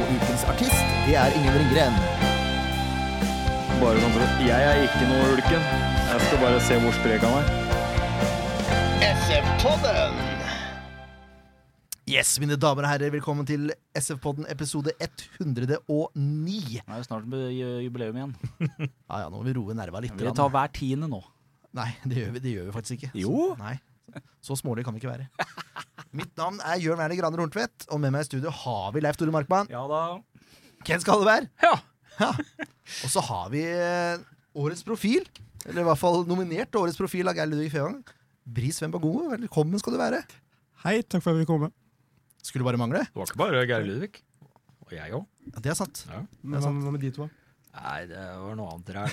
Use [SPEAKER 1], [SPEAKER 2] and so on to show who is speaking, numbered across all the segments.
[SPEAKER 1] Og ukens artist, det er Ingen Ringgren.
[SPEAKER 2] Bare sånn for at Jeg er ikke noe ulken. Jeg skal bare se hvor sprek han er.
[SPEAKER 3] Yes, mine damer og herrer, velkommen til SF-podden episode 109.
[SPEAKER 4] Det er jo snart bu- ju- jubileum igjen.
[SPEAKER 3] Ja ja, nå må vi roe nerva litt.
[SPEAKER 4] Vi
[SPEAKER 3] grann.
[SPEAKER 4] tar hver tiende nå.
[SPEAKER 3] Nei, det gjør vi, det gjør vi faktisk ikke.
[SPEAKER 4] Jo.
[SPEAKER 3] Så, nei, så smålig kan vi ikke være. Mitt navn er Jørn Werner Graner Horntvedt, og med meg i studio har vi Leif Tore Markmann.
[SPEAKER 4] Ja da.
[SPEAKER 3] Ken Skalleberg.
[SPEAKER 4] Ja.
[SPEAKER 3] Og så har vi eh, årets profil, eller i hvert fall nominert til årets profil av Geir Ludvig Fevang. Bris Vembagomo, velkommen skal du være.
[SPEAKER 5] Hei, takk for at jeg fikk komme.
[SPEAKER 3] Skulle bare mangle.
[SPEAKER 2] Det var ikke bare Geir Ludvig. Og jeg òg.
[SPEAKER 3] Ja, det er sant.
[SPEAKER 5] Men hva hva med de to? da?
[SPEAKER 2] Nei, det var noe annet her.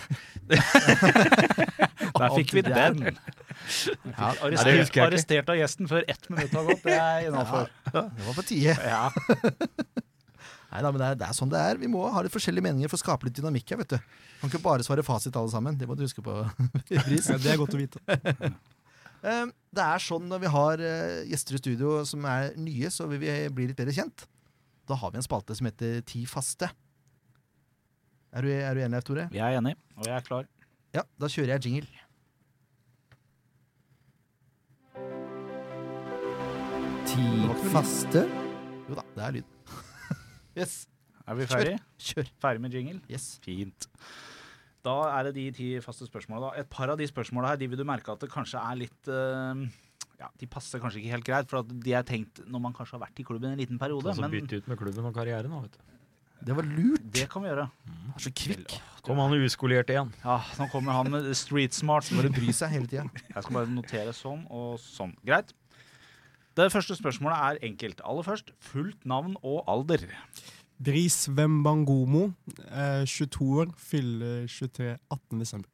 [SPEAKER 4] Der fikk vi den.
[SPEAKER 3] Ja,
[SPEAKER 2] Nei, det
[SPEAKER 4] Arrestert,
[SPEAKER 2] husker jeg ikke.
[SPEAKER 4] arrestert av gjesten før ett minutt har gått. Det er innafor.
[SPEAKER 3] det var på tide. Nei da, men det er, det er sånn det er. Vi må ha litt forskjellige meninger for å skape litt dynamikk her, vet du. Kan ikke bare svare fasit alle sammen. Det må du huske på. Bris.
[SPEAKER 5] Ja, det er godt å vite.
[SPEAKER 3] Um, Det er sånn når vi har eh, gjester i studio som er nye, så vil vi eh, bli litt bedre kjent. Da har vi en spalte som heter Ti faste. Er du, er du enig, Leif Tore?
[SPEAKER 4] Vi er enig, og jeg er klar.
[SPEAKER 3] Ja, da kjører jeg jingle.
[SPEAKER 1] Ti faste.
[SPEAKER 3] Jo da, det er lyd. yes.
[SPEAKER 4] Er vi ferdig?
[SPEAKER 3] Kjør.
[SPEAKER 4] Ferdig med jingle?
[SPEAKER 3] Yes.
[SPEAKER 4] Fint. Da er det de ti faste spørsmåla. da. Et par av de spørsmåla her de vil du merke at det kanskje er litt eh, ja, De passer kanskje ikke helt greit, for at de er tenkt når man kanskje har vært i klubben en liten periode.
[SPEAKER 2] Altså,
[SPEAKER 4] Men
[SPEAKER 2] bytte ut med klubben og karrieren. da, Vet du.
[SPEAKER 3] Det var lurt.
[SPEAKER 4] det kan vi gjøre.
[SPEAKER 3] Han er så kvikk.
[SPEAKER 2] Kom han uskolert igjen.
[SPEAKER 4] Ja, Nå kommer han med street smart.
[SPEAKER 3] Bare bry seg hele tida.
[SPEAKER 4] Jeg skal bare notere sånn og sånn. Greit. Det første spørsmålet er enkelt. Aller først, fullt navn og alder.
[SPEAKER 5] Bris Wembangomo, eh, 22 år, fyller 23 18. desember.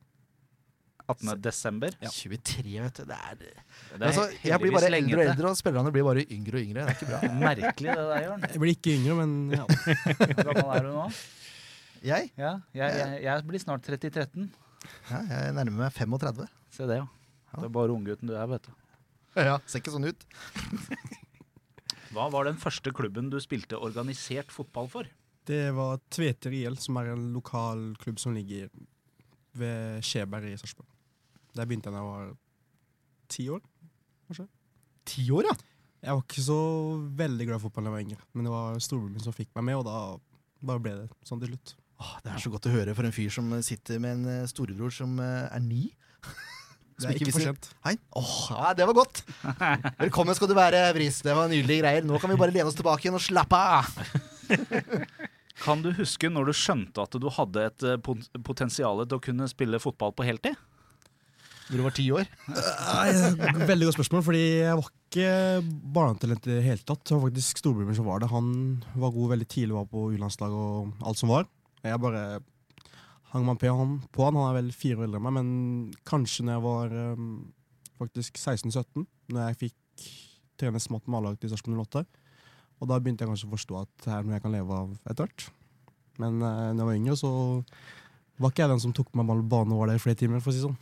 [SPEAKER 4] 18. desember.
[SPEAKER 3] 23, vet du. Det er,
[SPEAKER 4] Det er
[SPEAKER 3] altså, jeg blir
[SPEAKER 4] heldigvis
[SPEAKER 3] bare eldre og
[SPEAKER 4] lengete.
[SPEAKER 3] eldre, og spillerne blir bare yngre og yngre. Det er ikke bra.
[SPEAKER 4] Merkelig det der, Jørn.
[SPEAKER 5] Jeg blir ikke yngre, men ja.
[SPEAKER 4] Hvor gammel er du nå?
[SPEAKER 3] Jeg,
[SPEAKER 4] Ja, jeg, jeg, jeg blir snart 30-13.
[SPEAKER 3] ja, jeg nærmer meg 35.
[SPEAKER 4] Se det, ja. Det er bare unggutten du er, vet du.
[SPEAKER 3] Ja, Ser ikke sånn ut.
[SPEAKER 4] Hva var den første klubben du spilte organisert fotball for?
[SPEAKER 5] Det var Tveter IL, som er en lokal klubb som ligger ved Skjeberg i Sarpsborg. Der begynte jeg da jeg var ti år.
[SPEAKER 3] Ti år, ja.
[SPEAKER 5] Jeg var ikke så veldig glad i fotball da jeg var yngre, men det var storebroren min som fikk meg med, og da bare ble det sånn til slutt.
[SPEAKER 3] Åh, det er så godt å høre for en fyr som sitter med en eh, storebror som eh, er ni.
[SPEAKER 5] Det er ikke for sent.
[SPEAKER 3] Hei. Åh, ja, det var godt! Velkommen skal du være, Bris. Det var nydelige greier. Nå kan vi bare lene oss tilbake igjen og slappe av.
[SPEAKER 4] Kan du huske når du skjønte at du hadde et eh, pot- potensial til å kunne spille fotball på heltid?
[SPEAKER 3] Når du var ti år.
[SPEAKER 5] Nei, Veldig godt spørsmål, fordi jeg var ikke barnetalent i det hele tatt. Det var faktisk storebroren min som var det. Han var god veldig tidlig, var på U-landslag og alt som var. Jeg bare hang meg på han. På han. Han er vel fire år eldre enn meg, men kanskje når jeg var eh, faktisk 16-17, når jeg fikk trene smått med A-laget i Sarpsborg 08, og da begynte jeg kanskje å forstå at det er noe jeg kan leve av etter hvert. Men uh, når jeg var yngre, så var ikke jeg den som tok meg med bane og var der i flere timer, for å si det sånn.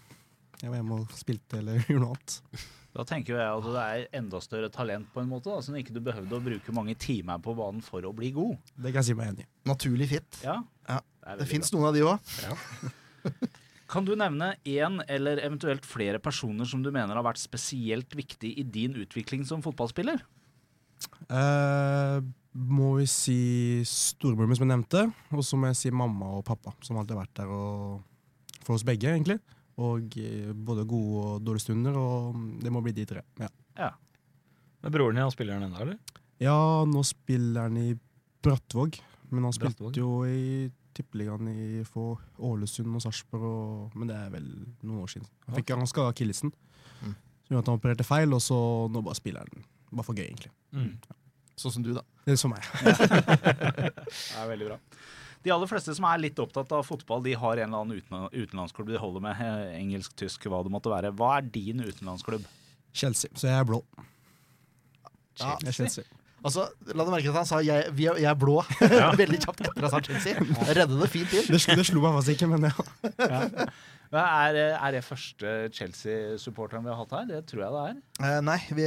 [SPEAKER 5] Jeg var hjemme og spilte eller gjorde noe annet.
[SPEAKER 4] Da tenker jo jeg at det er enda større talent på en måte, da, som ikke du behøvde å bruke mange timer på banen for å bli god.
[SPEAKER 5] Det kan jeg si meg enig i.
[SPEAKER 3] Naturlig fitt.
[SPEAKER 4] Ja,
[SPEAKER 3] Ja,
[SPEAKER 4] er
[SPEAKER 3] Det
[SPEAKER 4] veldig
[SPEAKER 3] fins noen av de òg.
[SPEAKER 4] bra. Kan du nevne én eller eventuelt flere personer som du mener har vært spesielt viktig i din utvikling som fotballspiller?
[SPEAKER 5] Eh, må vi si storebroren min, som jeg nevnte. Og så må jeg si mamma og pappa, som alltid har vært der og for oss begge, egentlig. Og eh, både gode og dårlige stunder, og mm, det må bli de tre. Ja,
[SPEAKER 2] Men broren din, han spiller han ennå, eller?
[SPEAKER 5] ja nå spiller han i Brattvåg, men han spilte
[SPEAKER 2] Brattvåg?
[SPEAKER 5] jo i Tippeligaen i for Ålesund og Sarpsborg, og- men det er vel noen år siden. Han fikk han skada akillesen,
[SPEAKER 3] Mm.
[SPEAKER 6] Mm.
[SPEAKER 5] som gjorde at han opererte feil, og så nå bare spiller han bare for gøy, egentlig.
[SPEAKER 3] Sånn som du, da.
[SPEAKER 5] Det er som meg.
[SPEAKER 4] Det er veldig bra. De aller fleste som er litt opptatt av fotball, de har en eller annen uten, utenlandsklubb de holder med. eh, Engelsk, tysk, hva det måtte være. Hva er din utenlandsklubb?
[SPEAKER 5] Chelsea. Så jeg er blå.
[SPEAKER 3] Ja,
[SPEAKER 5] Jeg er Chelsea.
[SPEAKER 3] altså, La deg merke at han sa jeg, vi er, 'jeg er blå' veldig kjapt etter at han sa Chelsea. Redde det fint inn.
[SPEAKER 5] Det, slo- det slo meg faktisk ikke, men ja.
[SPEAKER 4] Hva Er, eh, er det første Chelsea-supporteren vi har hatt her? Det tror jeg det er.
[SPEAKER 3] Eh, nei, vi,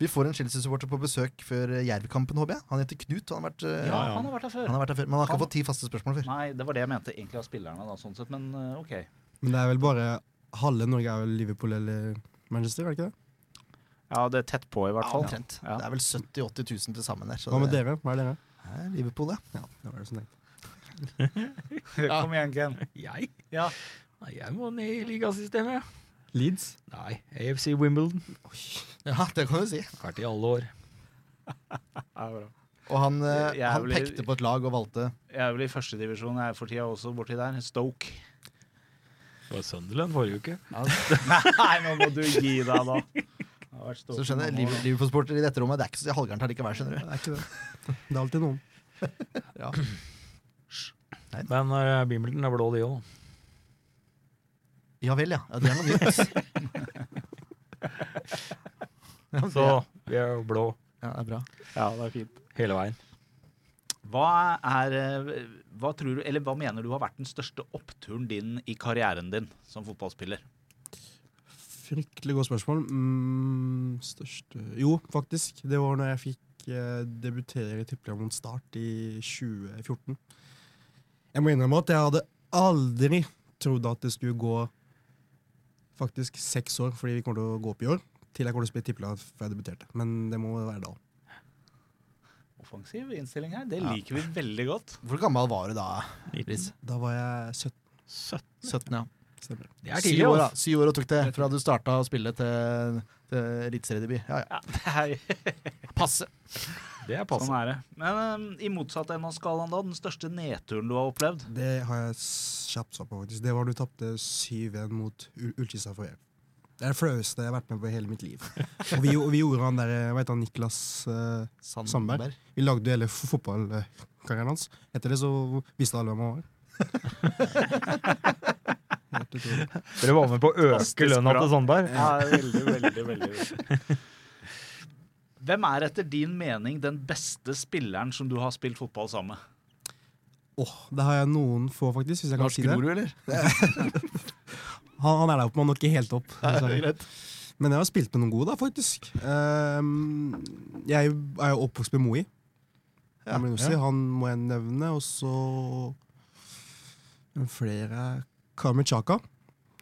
[SPEAKER 3] vi får en Chelsea-supporter på besøk før Jerv-kampen, håper jeg. Han heter Knut, og han har vært, eh,
[SPEAKER 4] Ja, han har vært her
[SPEAKER 3] han
[SPEAKER 4] før.
[SPEAKER 3] har vært her før. Men han har ikke fått ti faste spørsmål før.
[SPEAKER 4] Nei, det var det jeg mente egentlig av spillerne, da, sånn sett. Men eh, OK.
[SPEAKER 5] Men det er vel bare halve Norge er vel Liverpool eller Manchester, er det ikke det?
[SPEAKER 4] Ja, det er tett på, i hvert
[SPEAKER 3] Ja,
[SPEAKER 4] fall.
[SPEAKER 3] omtrent.
[SPEAKER 4] Ja.
[SPEAKER 3] Det er vel 70 000-80 000 til sammen der. Så
[SPEAKER 5] Hva med
[SPEAKER 3] det
[SPEAKER 5] dere? Hva er dere?
[SPEAKER 3] er Liverpool, ja.
[SPEAKER 5] Det var det som tenkte.
[SPEAKER 4] Kom igjen, Ken.
[SPEAKER 6] Jeg?
[SPEAKER 4] Ja.
[SPEAKER 6] Nei, jeg må ned i ligasystemet.
[SPEAKER 5] Leeds?
[SPEAKER 6] Nei, AFC Wimbledon.
[SPEAKER 3] Ja, det kan du si.
[SPEAKER 6] Vært i alle år.
[SPEAKER 3] Og han, eh,
[SPEAKER 4] Jeg er
[SPEAKER 3] han
[SPEAKER 4] vel-
[SPEAKER 3] pekte på et lag og valgte
[SPEAKER 4] Jeg er vel i førstedivisjon for tida også, borti der. Stoke.
[SPEAKER 6] Det var Sunderland forrige uke.
[SPEAKER 4] Nei, nå må du gi deg, da. Det har vært Stoke
[SPEAKER 3] Så skjønner jeg,
[SPEAKER 4] noen år,
[SPEAKER 3] Liver- Liverpool-sporter i dette rommet, det er ikke så halvgærent allikevel, skjønner du.
[SPEAKER 5] Det er ikke det. Det er alltid noen.
[SPEAKER 6] Men uh, Wimbledon er blå, de òg.
[SPEAKER 3] Ja vel, ja. ja det er noe nytt. Ja, det-
[SPEAKER 6] Så vi er jo blå
[SPEAKER 3] ja, det er bra.
[SPEAKER 4] Ja, det er fint.
[SPEAKER 6] hele veien.
[SPEAKER 4] Hva er eh, Hva tror du, eller hva mener du har vært den største oppturen din i karrieren din som fotballspiller?
[SPEAKER 5] Fryktelig godt spørsmål. Mm, største Jo, faktisk. Det var når jeg fikk eh, debutere i Tippeligaen mot Start i 2014. Jeg må innrømme at jeg hadde aldri trodd at det skulle gå faktisk seks år, fordi vi kommer til å gå opp i år, til jeg kommer til å spille Tippeligaen før jeg debuterte. Men det må være da.
[SPEAKER 4] Offensiv innstilling her. Det liker vi veldig godt.
[SPEAKER 3] Hvor gammel var du da? Chris?
[SPEAKER 5] Da var jeg 17.
[SPEAKER 3] 17, ja.
[SPEAKER 5] Stemmer.
[SPEAKER 6] Det er
[SPEAKER 3] Syv
[SPEAKER 6] tidlig,
[SPEAKER 3] år, da.
[SPEAKER 6] altså.
[SPEAKER 3] Syv år og tok det fra du starta å spille til, til eliteseriedebut. Ja, ja.
[SPEAKER 4] Ja, det er,
[SPEAKER 3] Passe.
[SPEAKER 6] Det er
[SPEAKER 4] sånn
[SPEAKER 6] passende.
[SPEAKER 4] er det. Men eh, i motsatt ende av skalaen, da. Den største nedturen du har opplevd?
[SPEAKER 5] Det har jeg s- kjapt svar på, faktisk. Det var da du tapte 7-1 mot U- Ullkisa forrige. Det er det flaueste jeg har vært med på i hele mitt liv. Og vi, og vi gjorde han der, hva heter han, Niklas eh, Sandberg. Vi lagde jo hele f- fotballkarrieren hans. Etter det så visste alle hvem han var. Helt utrolig.
[SPEAKER 6] Dere var med på å øke
[SPEAKER 4] Fantastisk
[SPEAKER 6] lønna
[SPEAKER 4] bra.
[SPEAKER 6] til Sandberg.
[SPEAKER 4] Ja, veldig, veldig, veldig. Hvem er etter din mening den beste spilleren som du har spilt fotball sammen med?
[SPEAKER 5] Åh, det har jeg noen få, faktisk. Hvis jeg kan
[SPEAKER 3] Lars
[SPEAKER 5] si det.
[SPEAKER 3] Grorud, eller?
[SPEAKER 5] Han, han er der oppe, men han når ikke helt opp.
[SPEAKER 3] det er
[SPEAKER 5] dessverre. Men jeg har spilt med noen gode, da, faktisk. Ehm, jeg er jo- er jo oppvokst med Moi.
[SPEAKER 3] Ja,
[SPEAKER 5] Emil Nossi, Han må jeg nevne. Og så Hvem flere Kamil Chaka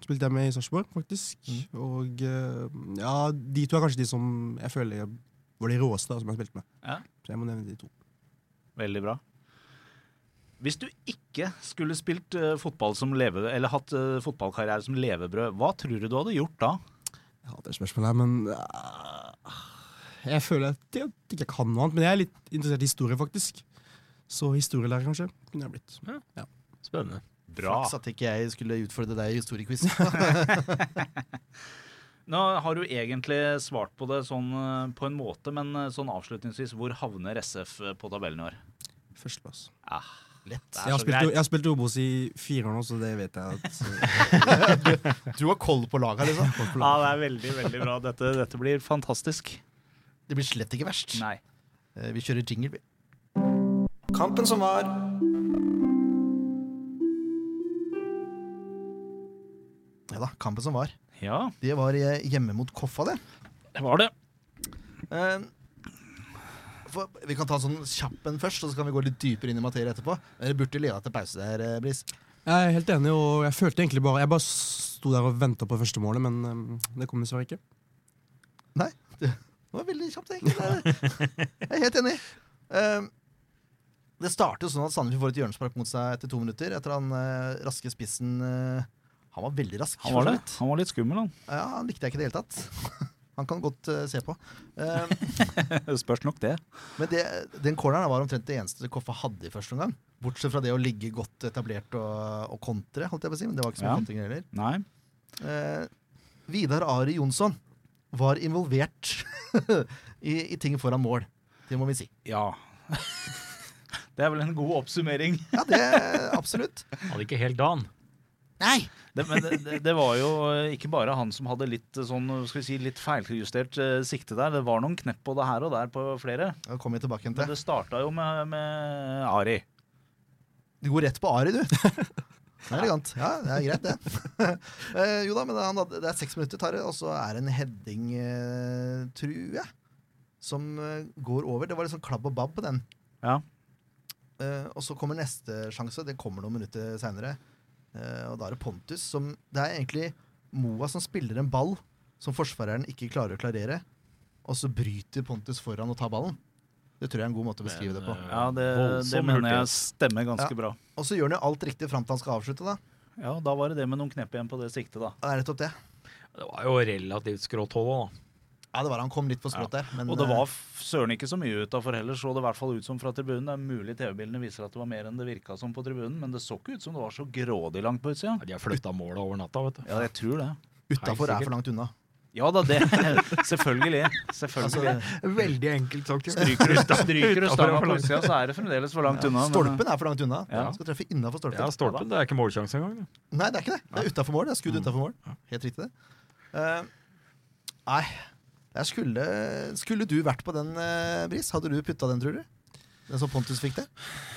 [SPEAKER 5] spilte jeg med i Sarpsborg, faktisk.
[SPEAKER 3] Mm.
[SPEAKER 5] Og eh, ja, de to er kanskje de som jeg føler var de råeste da, som jeg har spilt med.
[SPEAKER 4] Ja.
[SPEAKER 5] Så jeg må nevne de to.
[SPEAKER 4] Veldig bra. Hvis du ikke skulle spilt eh, fotball som leve, eller hatt eh, fotballkarriere som levebrød, hva tror du du hadde gjort da?
[SPEAKER 5] Jeg hater det spørsmålet her, men eh, Jeg føler at jeg at jeg ikke kan noe annet. Men jeg er litt interessert i historie, faktisk. Så historielærer, kanskje, kunne jeg blitt.
[SPEAKER 6] Spennende.
[SPEAKER 4] Bra.
[SPEAKER 3] Flaks at ikke jeg skulle utfordre deg i historiequiz.
[SPEAKER 4] Nå har du egentlig svart på det sånn eh, på en måte, men eh, sånn avslutningsvis, hvor havner SF på tabellen i år?
[SPEAKER 5] Førsteplass.
[SPEAKER 4] Ah,
[SPEAKER 3] Lett.
[SPEAKER 4] det
[SPEAKER 5] Jeg
[SPEAKER 4] er
[SPEAKER 5] har
[SPEAKER 4] så
[SPEAKER 5] spilt,
[SPEAKER 4] greit.
[SPEAKER 5] jeg har spilt i Obos i fire år nå, så det vet jeg at eh,
[SPEAKER 3] Du har koll på laga, liksom.
[SPEAKER 4] Ja, det er veldig, veldig bra. Dette, dette blir fantastisk.
[SPEAKER 3] Det blir slett ikke verst.
[SPEAKER 4] Nei.
[SPEAKER 3] Eh, Vi kjører jingle, vi.
[SPEAKER 1] Kampen som var.
[SPEAKER 3] Ja da, kampen som var.
[SPEAKER 4] Ja,
[SPEAKER 3] Det var eh, hjemme mot Koffa, det.
[SPEAKER 4] det var det.
[SPEAKER 3] Eh, For, vi kan ta en sånn kjapp en først, og så kan vi gå litt dypere inn i materie etterpå. Dere burde leda til pause der, eh, Bris.
[SPEAKER 5] Jeg er helt enig, og jeg følte egentlig bare Jeg bare sto der og venta på første målet, men um, det kom dessverre ikke.
[SPEAKER 3] Det var veldig kjapt, egentlig. Jeg er helt enig. Eh, Det starter jo sånn at Sandefjord får et hjørnespark mot seg etter to minutter. Etter han eh, raske spissen eh, Han var veldig rask.
[SPEAKER 4] Han var,
[SPEAKER 3] for så
[SPEAKER 4] det.
[SPEAKER 3] vidt.
[SPEAKER 4] Han var litt skummel, han.
[SPEAKER 3] Ja, han likte jeg ikke i det hele tatt. Han kan godt eh, se på. Eh,
[SPEAKER 4] Spørs nok det.
[SPEAKER 3] men det, den corneren var omtrent det eneste Koffa hadde i første omgang. Bortsett fra det å ligge godt etablert og, og kontre, holdt jeg på å si. Men det var ikke så mye
[SPEAKER 4] Ja.
[SPEAKER 3] kontring heller.
[SPEAKER 4] Nei.
[SPEAKER 3] Eh, Vidar Ari Jonsson var involvert i, i ting foran mål. Det må vi si.
[SPEAKER 4] Ja. Det er vel en god oppsummering.
[SPEAKER 3] Ja, det absolutt.
[SPEAKER 6] Hadde ikke helt dagen.
[SPEAKER 3] Nei!
[SPEAKER 4] Det, men det- det, det var jo eh, ikke bare han som hadde litt eh, sånn, skal vi si, litt feiljustert eh, sikte der. Det var noen knepp på det her og der på flere.
[SPEAKER 3] Da kommer vi tilbake igjen
[SPEAKER 4] Men
[SPEAKER 3] til
[SPEAKER 4] det starta jo med, med Ari.
[SPEAKER 3] Du går rett på Ari, du. Det er elegant. Ja, det er greit, det. Eh, jo da, men han hadde, det er seks minutter, tar det, og så er det en heading, eh, tror jeg, som eh, går over. Det var litt sånn klabb og babb på den.
[SPEAKER 4] Ja.
[SPEAKER 3] Eh, og så kommer neste sjanse. Det kommer noen minutter seinere. og da er det Pontus som Det er egentlig Moa som spiller en ball som forsvareren ikke klarer å klarere, og så bryter Pontus foran og tar ballen. Det tror jeg er en god måte å beskrive det på.
[SPEAKER 4] Ja, det, det mener jeg stemmer ganske
[SPEAKER 3] Ja.
[SPEAKER 4] bra.
[SPEAKER 3] Og så gjør han jo alt riktig fram til han skal avslutte, da.
[SPEAKER 4] Ja, Da var det det med noen knepp igjen på det siktet, da.
[SPEAKER 3] Det er nettopp det.
[SPEAKER 6] Det var jo relativt skrått hold òg, da.
[SPEAKER 3] Ja, det var han kom litt på skrått der. Men, eh,
[SPEAKER 4] Og det var f- søren ikke så mye utafor heller, så det i hvert fall ut som fra tribunen. Det er mulig TV-bildene viser at det var mer enn det virka som på tribunen, men det så ikke ut som det var så grådig langt på utsida.
[SPEAKER 6] Ja, De har flytta måla over natta, vet du.
[SPEAKER 4] Ja, jeg tror det.
[SPEAKER 3] utafor
[SPEAKER 6] Helt sikkert.
[SPEAKER 3] er for langt unna. Altså,
[SPEAKER 4] Ja da, det. Selvfølgelig. Selvfølgelig.
[SPEAKER 6] Veldig enkelt sagt. Ja.
[SPEAKER 4] Stryker du, stryker du
[SPEAKER 6] Utenfor
[SPEAKER 4] stanga
[SPEAKER 6] er for
[SPEAKER 4] på
[SPEAKER 6] langt.
[SPEAKER 4] utsida, så er det fremdeles for langt unna. men- eh,
[SPEAKER 3] Stolpen er for langt unna.
[SPEAKER 4] Ja.
[SPEAKER 3] Skal treffe innafor stolpen.
[SPEAKER 6] Ja, stolpen. Det er ikke målsjanse engang. det.
[SPEAKER 3] Nei, det er ikke det. Det er utafor mål. Det er
[SPEAKER 4] Mm.
[SPEAKER 3] skudd utafor mål. Helt riktig, det. Eh, nei, jeg skulle Skulle du vært på den, eh, Bris? Hadde du putta den, tror du? Den som Pontus fikk det?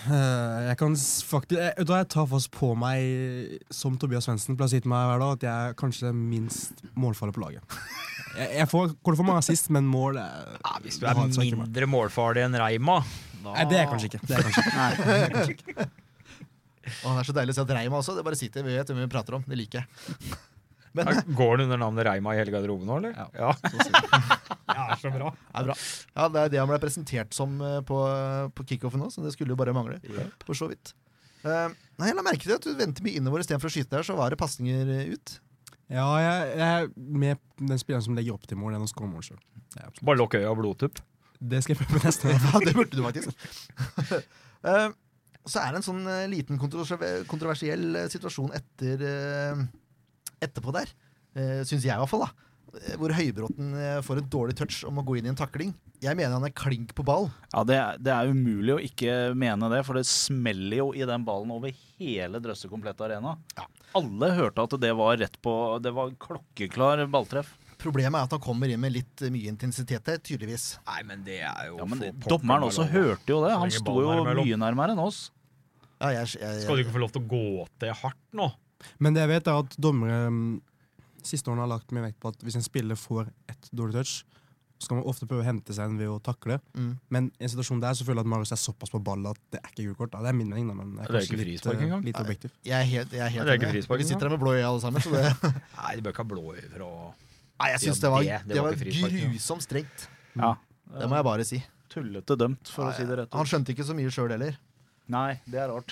[SPEAKER 5] Eh, Jeg kan s- faktisk jeg, vet du hva, jeg tar fast på meg, som Tobias Svendsen pleier å si til meg hver dag, at jeg er kanskje den minst målfarlig på laget. Jeg, jeg får, går for mange assist, men mål er,
[SPEAKER 6] Hvis du er mindre målfarlig enn Reima
[SPEAKER 5] Nei, det er jeg kanskje ikke. Det er jeg kanskje ikke.
[SPEAKER 3] Å, det er så deilig å se at Reima også. Det bare sitter. Vi vet hvem vi prater om. Det liker jeg.
[SPEAKER 6] Går han under navnet Reima i hele garderoben nå, eller? Ja. Ja, så bra.
[SPEAKER 3] Det er bra. Ja, det er det han ble presentert som eh, på, på kickoffen nå, så det skulle jo bare mangle. For så vidt. Eh, nei, jeg la merke til at du vendte mye innover istedenfor å skyte der, så var det pasninger eh, ut.
[SPEAKER 5] Ja, jeg, jeg er med den spilleren som legger opp til mål enn å score mål sjøl.
[SPEAKER 6] Bare lukk øya og blodtupp.
[SPEAKER 5] Det skal jeg prøve på neste gang.
[SPEAKER 3] Ja, det burde du faktisk. Eh, så er det en sånn eh, liten kontroversiell, kontroversiell eh, situasjon etter, eh, etterpå der, uh, syns jeg i hvert fall, da. Eh, Hvor Høybråten eh, får et dårlig touch om å gå inn i en takling. Jeg mener han er klink på ball.
[SPEAKER 4] Ja, det, er- det er umulig å ikke mene det, for det smeller jo i den ballen over hele Drøssekomplett Arena. Alle hørte at det var rett på Det var klokkeklar balltreff.
[SPEAKER 3] Problemet er at han kommer inn med litt eh, mye intensitet der, tydeligvis.
[SPEAKER 6] Nei, men det er jo
[SPEAKER 4] Ja, men det-
[SPEAKER 6] for pokker
[SPEAKER 4] Dommeren
[SPEAKER 6] meg
[SPEAKER 4] også
[SPEAKER 6] lov.
[SPEAKER 4] hørte jo det.
[SPEAKER 6] Så
[SPEAKER 4] Han
[SPEAKER 6] lenge
[SPEAKER 4] sto
[SPEAKER 6] ballen
[SPEAKER 4] jo
[SPEAKER 6] er imellom.
[SPEAKER 4] mye nærmere enn oss.
[SPEAKER 3] Ja, jeg, jeg,
[SPEAKER 6] Skal du ikke få lov til å gå til hardt nå?
[SPEAKER 5] Men det jeg vet, er at dommere mm, siste årene har lagt mye vekt på at hvis en spiller får ett dårlig touch, så skal man ofte prøve å hente seg en ved å takle.
[SPEAKER 3] Mm.
[SPEAKER 5] Men i en situasjon der så føler jeg at Marius er såpass på ball at det er ikke gult kort. da. Det er min mening, da. Men jeg
[SPEAKER 6] Det er
[SPEAKER 5] kanskje
[SPEAKER 6] ikke
[SPEAKER 5] litt,
[SPEAKER 6] frispark
[SPEAKER 5] eh,
[SPEAKER 6] engang.
[SPEAKER 5] Litt objektiv.
[SPEAKER 3] Jeg er helt, jeg er helt
[SPEAKER 6] Det er ikke
[SPEAKER 3] enig.
[SPEAKER 6] frispark
[SPEAKER 3] Vi sitter her med blå øyne alle sammen. Så det,
[SPEAKER 6] Nei, de bør ikke ha blå øyne for å
[SPEAKER 3] nei, jeg syns
[SPEAKER 6] Ja,
[SPEAKER 3] det var,
[SPEAKER 6] det- det
[SPEAKER 3] det
[SPEAKER 6] var
[SPEAKER 3] var
[SPEAKER 6] ikke frispark, ja.
[SPEAKER 3] grusomt strengt.
[SPEAKER 4] Ja.
[SPEAKER 3] Det må jeg bare si.
[SPEAKER 4] Tullete dømt, for å si det rett
[SPEAKER 3] Han
[SPEAKER 4] ut.
[SPEAKER 3] skjønte ikke så mye sjøl heller.
[SPEAKER 4] Nei, det er rart.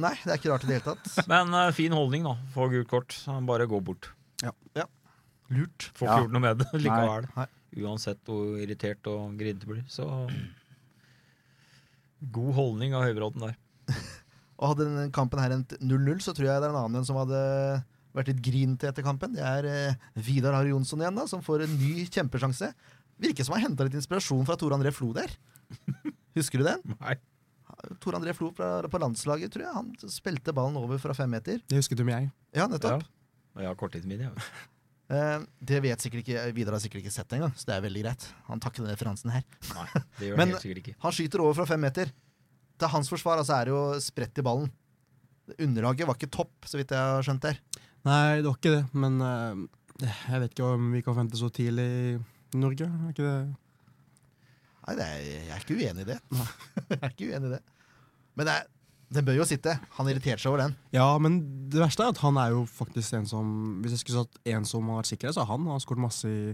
[SPEAKER 3] Nei, det er ikke rart i det hele tatt.
[SPEAKER 6] Men eh, fin holdning, da. Få gult kort. Bare gå bort.
[SPEAKER 3] Lurt.
[SPEAKER 6] Får ikke
[SPEAKER 4] Ja.
[SPEAKER 6] gjort noe med det likevel.
[SPEAKER 3] Nei.
[SPEAKER 6] Uansett hvor irritert og grinete blir. Så god holdning av Høybråten der.
[SPEAKER 3] Og hadde den kampen her endt 0-0, så tror jeg det er en annen enn som hadde vært litt grinte etter kampen. Det er eh, Vidar Harry Jonsson igjen, da, som får en ny kjempesjanse. Virker som han henta litt inspirasjon fra Tore André Flo der. Husker du den?
[SPEAKER 6] Nei.
[SPEAKER 3] Tore André Flo fra, på landslaget, tror jeg. Han spilte ballen over fra fem meter.
[SPEAKER 5] Det husket jo jeg.
[SPEAKER 3] Ja, nettopp.
[SPEAKER 6] Ja. Jeg har korttidsminne, jeg. vet
[SPEAKER 3] Eh, Det vet sikkert ikke Vidar har sikkert ikke sett det engang, så det er veldig greit. Han takker den referansen her.
[SPEAKER 6] du. Nei, det gjør
[SPEAKER 3] Men-
[SPEAKER 6] han helt sikkert ikke.
[SPEAKER 3] Han skyter over fra fem meter. Til hans forsvar altså, er det jo spredt i ballen. Underlaget var ikke topp, så vidt jeg har skjønt der.
[SPEAKER 5] Nei, det var ikke det, men eh, jeg vet ikke om vi kan forvente så tidlig i Norge. Er ikke det?
[SPEAKER 3] Nei, det er, jeg er ikke uenig i det. jeg er ikke uenig i det. Men det er, den bør jo sitte. Han irriterte seg over den.
[SPEAKER 5] Ja, men det verste er at han er jo faktisk en som Hvis jeg skulle sagt en som har vært sikker, så er han. Han har skåret masse i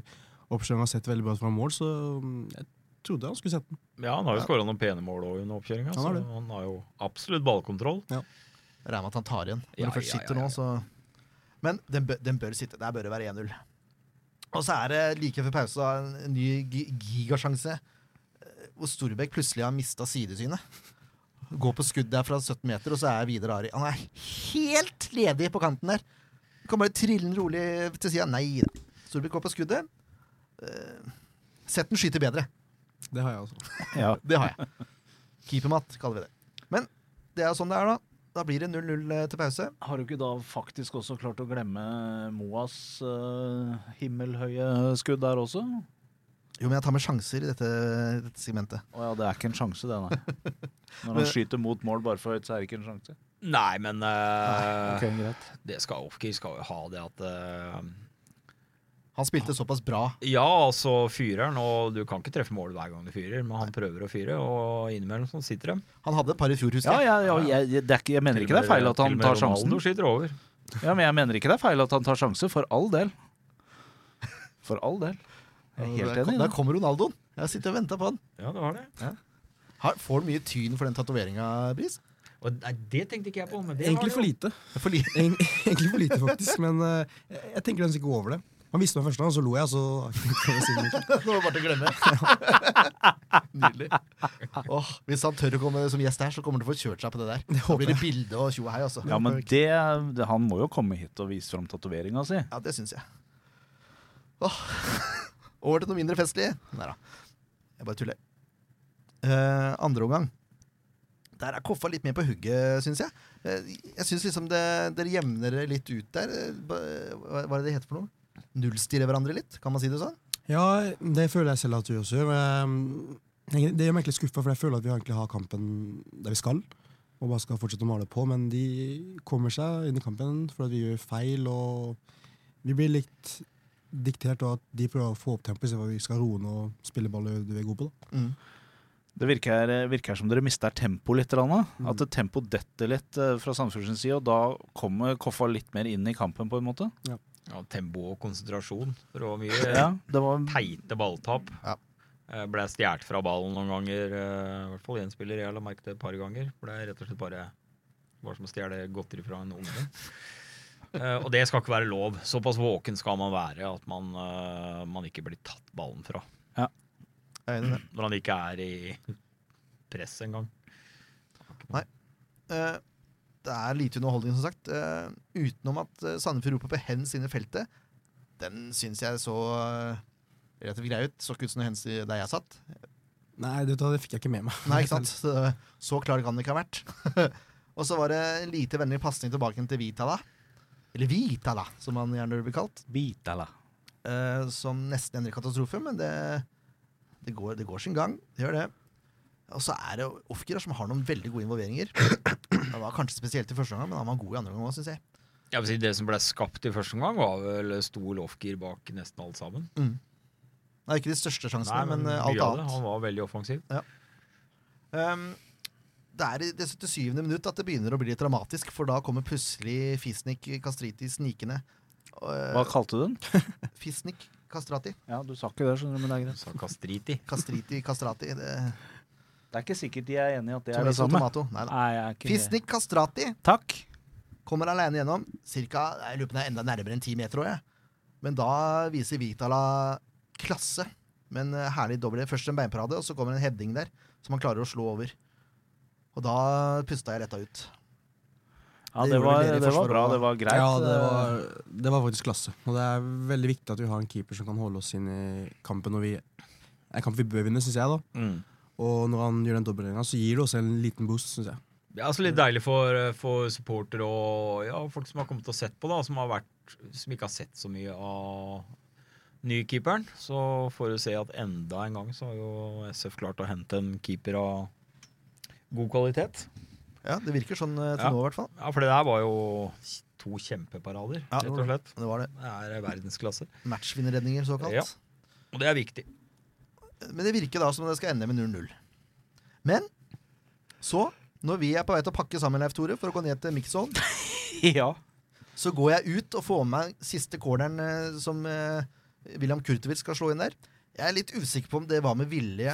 [SPEAKER 5] oppkjøring og har sett veldig bra ut fra mål, så mm, jeg trodde han skulle sett den.
[SPEAKER 6] Ja, han har jo skåra noen pene mål også under oppkjøringa,
[SPEAKER 5] Han
[SPEAKER 6] så
[SPEAKER 5] har det.
[SPEAKER 6] han har jo absolutt ballkontroll.
[SPEAKER 3] Jeg Regner med at han tar igjen når
[SPEAKER 6] Ja,
[SPEAKER 3] den først
[SPEAKER 6] ja,
[SPEAKER 3] sitter
[SPEAKER 6] ja, ja.
[SPEAKER 3] nå, så Men den bør, den bør sitte. Der bør det være 1-0. Og så er det like før pause da, en- en ny gi- gigasjanse eh, hvor Storbekk plutselig har mista sidesynet. Går på skudd der fra 17 meter, og så er Vidar Ari Han er helt ledig på kanten der. Kan bare trille den rolig til sida. Nei da. Storbekk går på skuddet. Eh, Setten skyter bedre.
[SPEAKER 5] Det har jeg altså. også.
[SPEAKER 4] Ja.
[SPEAKER 3] Det har jeg. Keepermatt kaller vi det. Men det er jo sånn det er, da. Da blir det 0-0 til pause.
[SPEAKER 4] Har du ikke da faktisk også klart å glemme Moas eh, himmelhøye skudd der også? Å
[SPEAKER 3] Jo, men jeg tar med sjanser i dette, dette segmentet.
[SPEAKER 4] ja, det er ikke en sjanse, det, nei. Når han skyter mot mål bare for høyt, så er det ikke en sjanse.
[SPEAKER 6] Nei, men eh,
[SPEAKER 4] Ah, Ok, greit.
[SPEAKER 6] det skal Ofker skal jo ha det at eh,
[SPEAKER 3] Han spilte
[SPEAKER 4] Ah.
[SPEAKER 3] såpass bra.
[SPEAKER 6] Ja, altså fyreren, og du kan ikke treffe mål hver gang du fyrer, men han prøver å fyre, og innimellom så sitter de.
[SPEAKER 3] Han hadde et par i fjor, husker
[SPEAKER 4] Ja,
[SPEAKER 3] jeg.
[SPEAKER 4] ja, ja jeg, jeg- det er ikke, jeg mener ikke det er feil at han tar sjansen.
[SPEAKER 6] Ronaldo skyter over.
[SPEAKER 4] Ja, men jeg mener ikke det er feil at han tar sjanse, for all del. For all del. Jeg er helt
[SPEAKER 3] der,
[SPEAKER 4] enig
[SPEAKER 3] kom-
[SPEAKER 4] i det.
[SPEAKER 3] der kom Ronaldoen. Jeg har sittet og venta på han.
[SPEAKER 6] Ja, det var det.
[SPEAKER 3] Har, får han mye tyn for den tatoveringa, Bris?
[SPEAKER 6] Og nei, det tenkte ikke jeg på, men det
[SPEAKER 5] Egentlig for
[SPEAKER 6] har
[SPEAKER 5] lite.
[SPEAKER 3] For li
[SPEAKER 5] Eng- Egentlig for lite, faktisk. Men eh, jeg jeg tenker den skal gå over det. Han visste meg først, og så lo jeg, og så
[SPEAKER 3] Nå var det bare til å glemme. Nydelig. Åh, hvis han tør å komme som gjest her, så kommer han til å få kjørt seg på det der. Da blir det bilde og tjo og hei, altså.
[SPEAKER 4] Ja, men det, det- han må jo komme hit og vise fram tatoveringa si.
[SPEAKER 3] Ja, det syns jeg. Åh. Over til noe mindre festlig. Nei da, jeg bare tuller. Eh, andre omgang. Der er Koffa litt mer på hugget, syns jeg. Eh, jeg syns liksom det, dere jevner det litt ut der. Eh, ba- Hva, hva er det det heter for noe? Nullstirre hverandre litt, kan man si det sånn?
[SPEAKER 5] Ja, det føler jeg selv at du også gjør. men, eh, Det gjør meg egentlig skuffa, for jeg føler at vi egentlig har kampen der vi skal. Og bare skal fortsette å male på, men de kommer seg inn i kampen fordi vi gjør feil. Og vi blir litt diktert av at de prøver å få opp tempoet, istedenfor at vi skal roe ned og spille ball og gjøre det vi er gode på. Da.
[SPEAKER 3] Mm.
[SPEAKER 4] Det virker, eh, virker som dere mister tempo litt. eller annet. At det tempo detter litt eh, fra Sandefjords side, og da kommer Koffa litt mer inn i kampen, på en måte.
[SPEAKER 6] jo- ja, tempo og konsentrasjon. Det var mye
[SPEAKER 4] Ja, det var
[SPEAKER 6] teite balltap.
[SPEAKER 3] Ja.
[SPEAKER 6] Eh, Ble stjålet fra ballen noen ganger. eh, I hvert fall én spiller jeg la merke til et par ganger. Ble rett og slett bare var som å stjele godteri fra en unge. Eh, og det skal ikke være lov. Såpass våken skal man være at man, eh, man ikke blir tatt ballen fra.
[SPEAKER 3] Jeg er enig i det.
[SPEAKER 6] Når han ikke er i press engang.
[SPEAKER 3] Eh, det er lite underholdning, som sagt. Eh, utenom at eh, Sandefjord roper på hens inne i feltet. Den syns jeg så eh, relativt grei ut. Så ikke ut som noe hens i der jeg satt.
[SPEAKER 5] Nei, det, det fikk jeg ikke med meg.
[SPEAKER 3] Nei, ikke sant? Så, så klar kan det ikke ha vært. og så var det en lite vennlig pasning tilbake til Vitala. Eller Vitala, som han gjerne blir kalt.
[SPEAKER 4] bit, eller?
[SPEAKER 3] Eh, som nesten ender i katastrofe, men det, det, går, det går sin gang. Det gjør det. Og så er det Ofker som har noen veldig gode involveringer. Han var kanskje spesielt i første omgang, men han var god i andre omgang òg, syns jeg.
[SPEAKER 6] Jeg vil si Det som ble skapt i første omgang, var vel stor lofgir bak nesten alt sammen.
[SPEAKER 3] Nei, ikke de største sjansene,
[SPEAKER 6] Nei,
[SPEAKER 3] men, eh,
[SPEAKER 6] mye
[SPEAKER 3] alt
[SPEAKER 6] av det.
[SPEAKER 3] annet.
[SPEAKER 6] Han var veldig offensiv.
[SPEAKER 3] Um, det er i det 77. minutt at det begynner å bli litt dramatisk, for da kommer plutselig Fisnik Kastriti snikende.
[SPEAKER 4] Hva
[SPEAKER 3] Uh,
[SPEAKER 4] kalte du den?
[SPEAKER 3] Fisnik Kastrati.
[SPEAKER 4] Ja, Du sa ikke det, skjønner du, men det er greit.
[SPEAKER 6] Sa Kastriti.
[SPEAKER 3] Kastriti Kastrati. Det,
[SPEAKER 4] Det er ikke sikkert de er enig i at det er
[SPEAKER 3] tomato,
[SPEAKER 4] det samme.
[SPEAKER 3] tomato. Nei, da.
[SPEAKER 4] Nei, jeg er ikke
[SPEAKER 3] Fisnik Kastrati
[SPEAKER 4] Takk.
[SPEAKER 3] kommer alene gjennom. Cirka, jeg lurer på om det er enda nærmere enn ti meter òg, jeg. Men da viser Vitala klasse. Men eh, herlig dobbel. Først en beinparade, og så kommer en heading der som han klarer å slå over. Og da pusta jeg letta ut.
[SPEAKER 4] Ja,
[SPEAKER 3] Det
[SPEAKER 4] det
[SPEAKER 3] gjorde
[SPEAKER 4] var,
[SPEAKER 3] dere i
[SPEAKER 4] det var
[SPEAKER 3] forsvaret også.
[SPEAKER 4] bra. Det var greit.
[SPEAKER 5] Ja, det var, det var faktisk klasse. Og det er veldig viktig at vi har en keeper som kan holde oss inn i kampen når vi en kamp vi bør vinne, syns jeg. da
[SPEAKER 6] Mm.
[SPEAKER 5] Og når han gjør den dobbeltregninga, så gir det oss en liten boost, syns jeg.
[SPEAKER 6] Det er altså litt deilig for, for supporter og ja, folk som har kommet og sett på, da, som, har vært, som ikke har sett så mye av nykeeperen. Så får du se at enda en gang så har jo SF klart å hente en keeper av god kvalitet.
[SPEAKER 3] Ja, Det virker sånn eh, til
[SPEAKER 6] Ja.
[SPEAKER 3] nå, i hvert fall.
[SPEAKER 6] Ja, For det der var jo to kjempeparader,
[SPEAKER 3] Ja, det
[SPEAKER 6] rett
[SPEAKER 3] var
[SPEAKER 6] og slett.
[SPEAKER 3] Det var det.
[SPEAKER 6] Det er eh, verdensklasse.
[SPEAKER 3] Matchvinnerredninger, såkalt.
[SPEAKER 6] Ja. Og det er viktig.
[SPEAKER 3] Men det virker da som det skal ende med 0-0. Men så, når vi er på vei til å pakke sammen Leif Tore for å gå ned til mixzone,
[SPEAKER 4] Ja.
[SPEAKER 3] så går jeg ut og får med meg siste corneren eh, som eh, William Kurtovic skal slå inn der. Jeg er litt usikker på om det var med vilje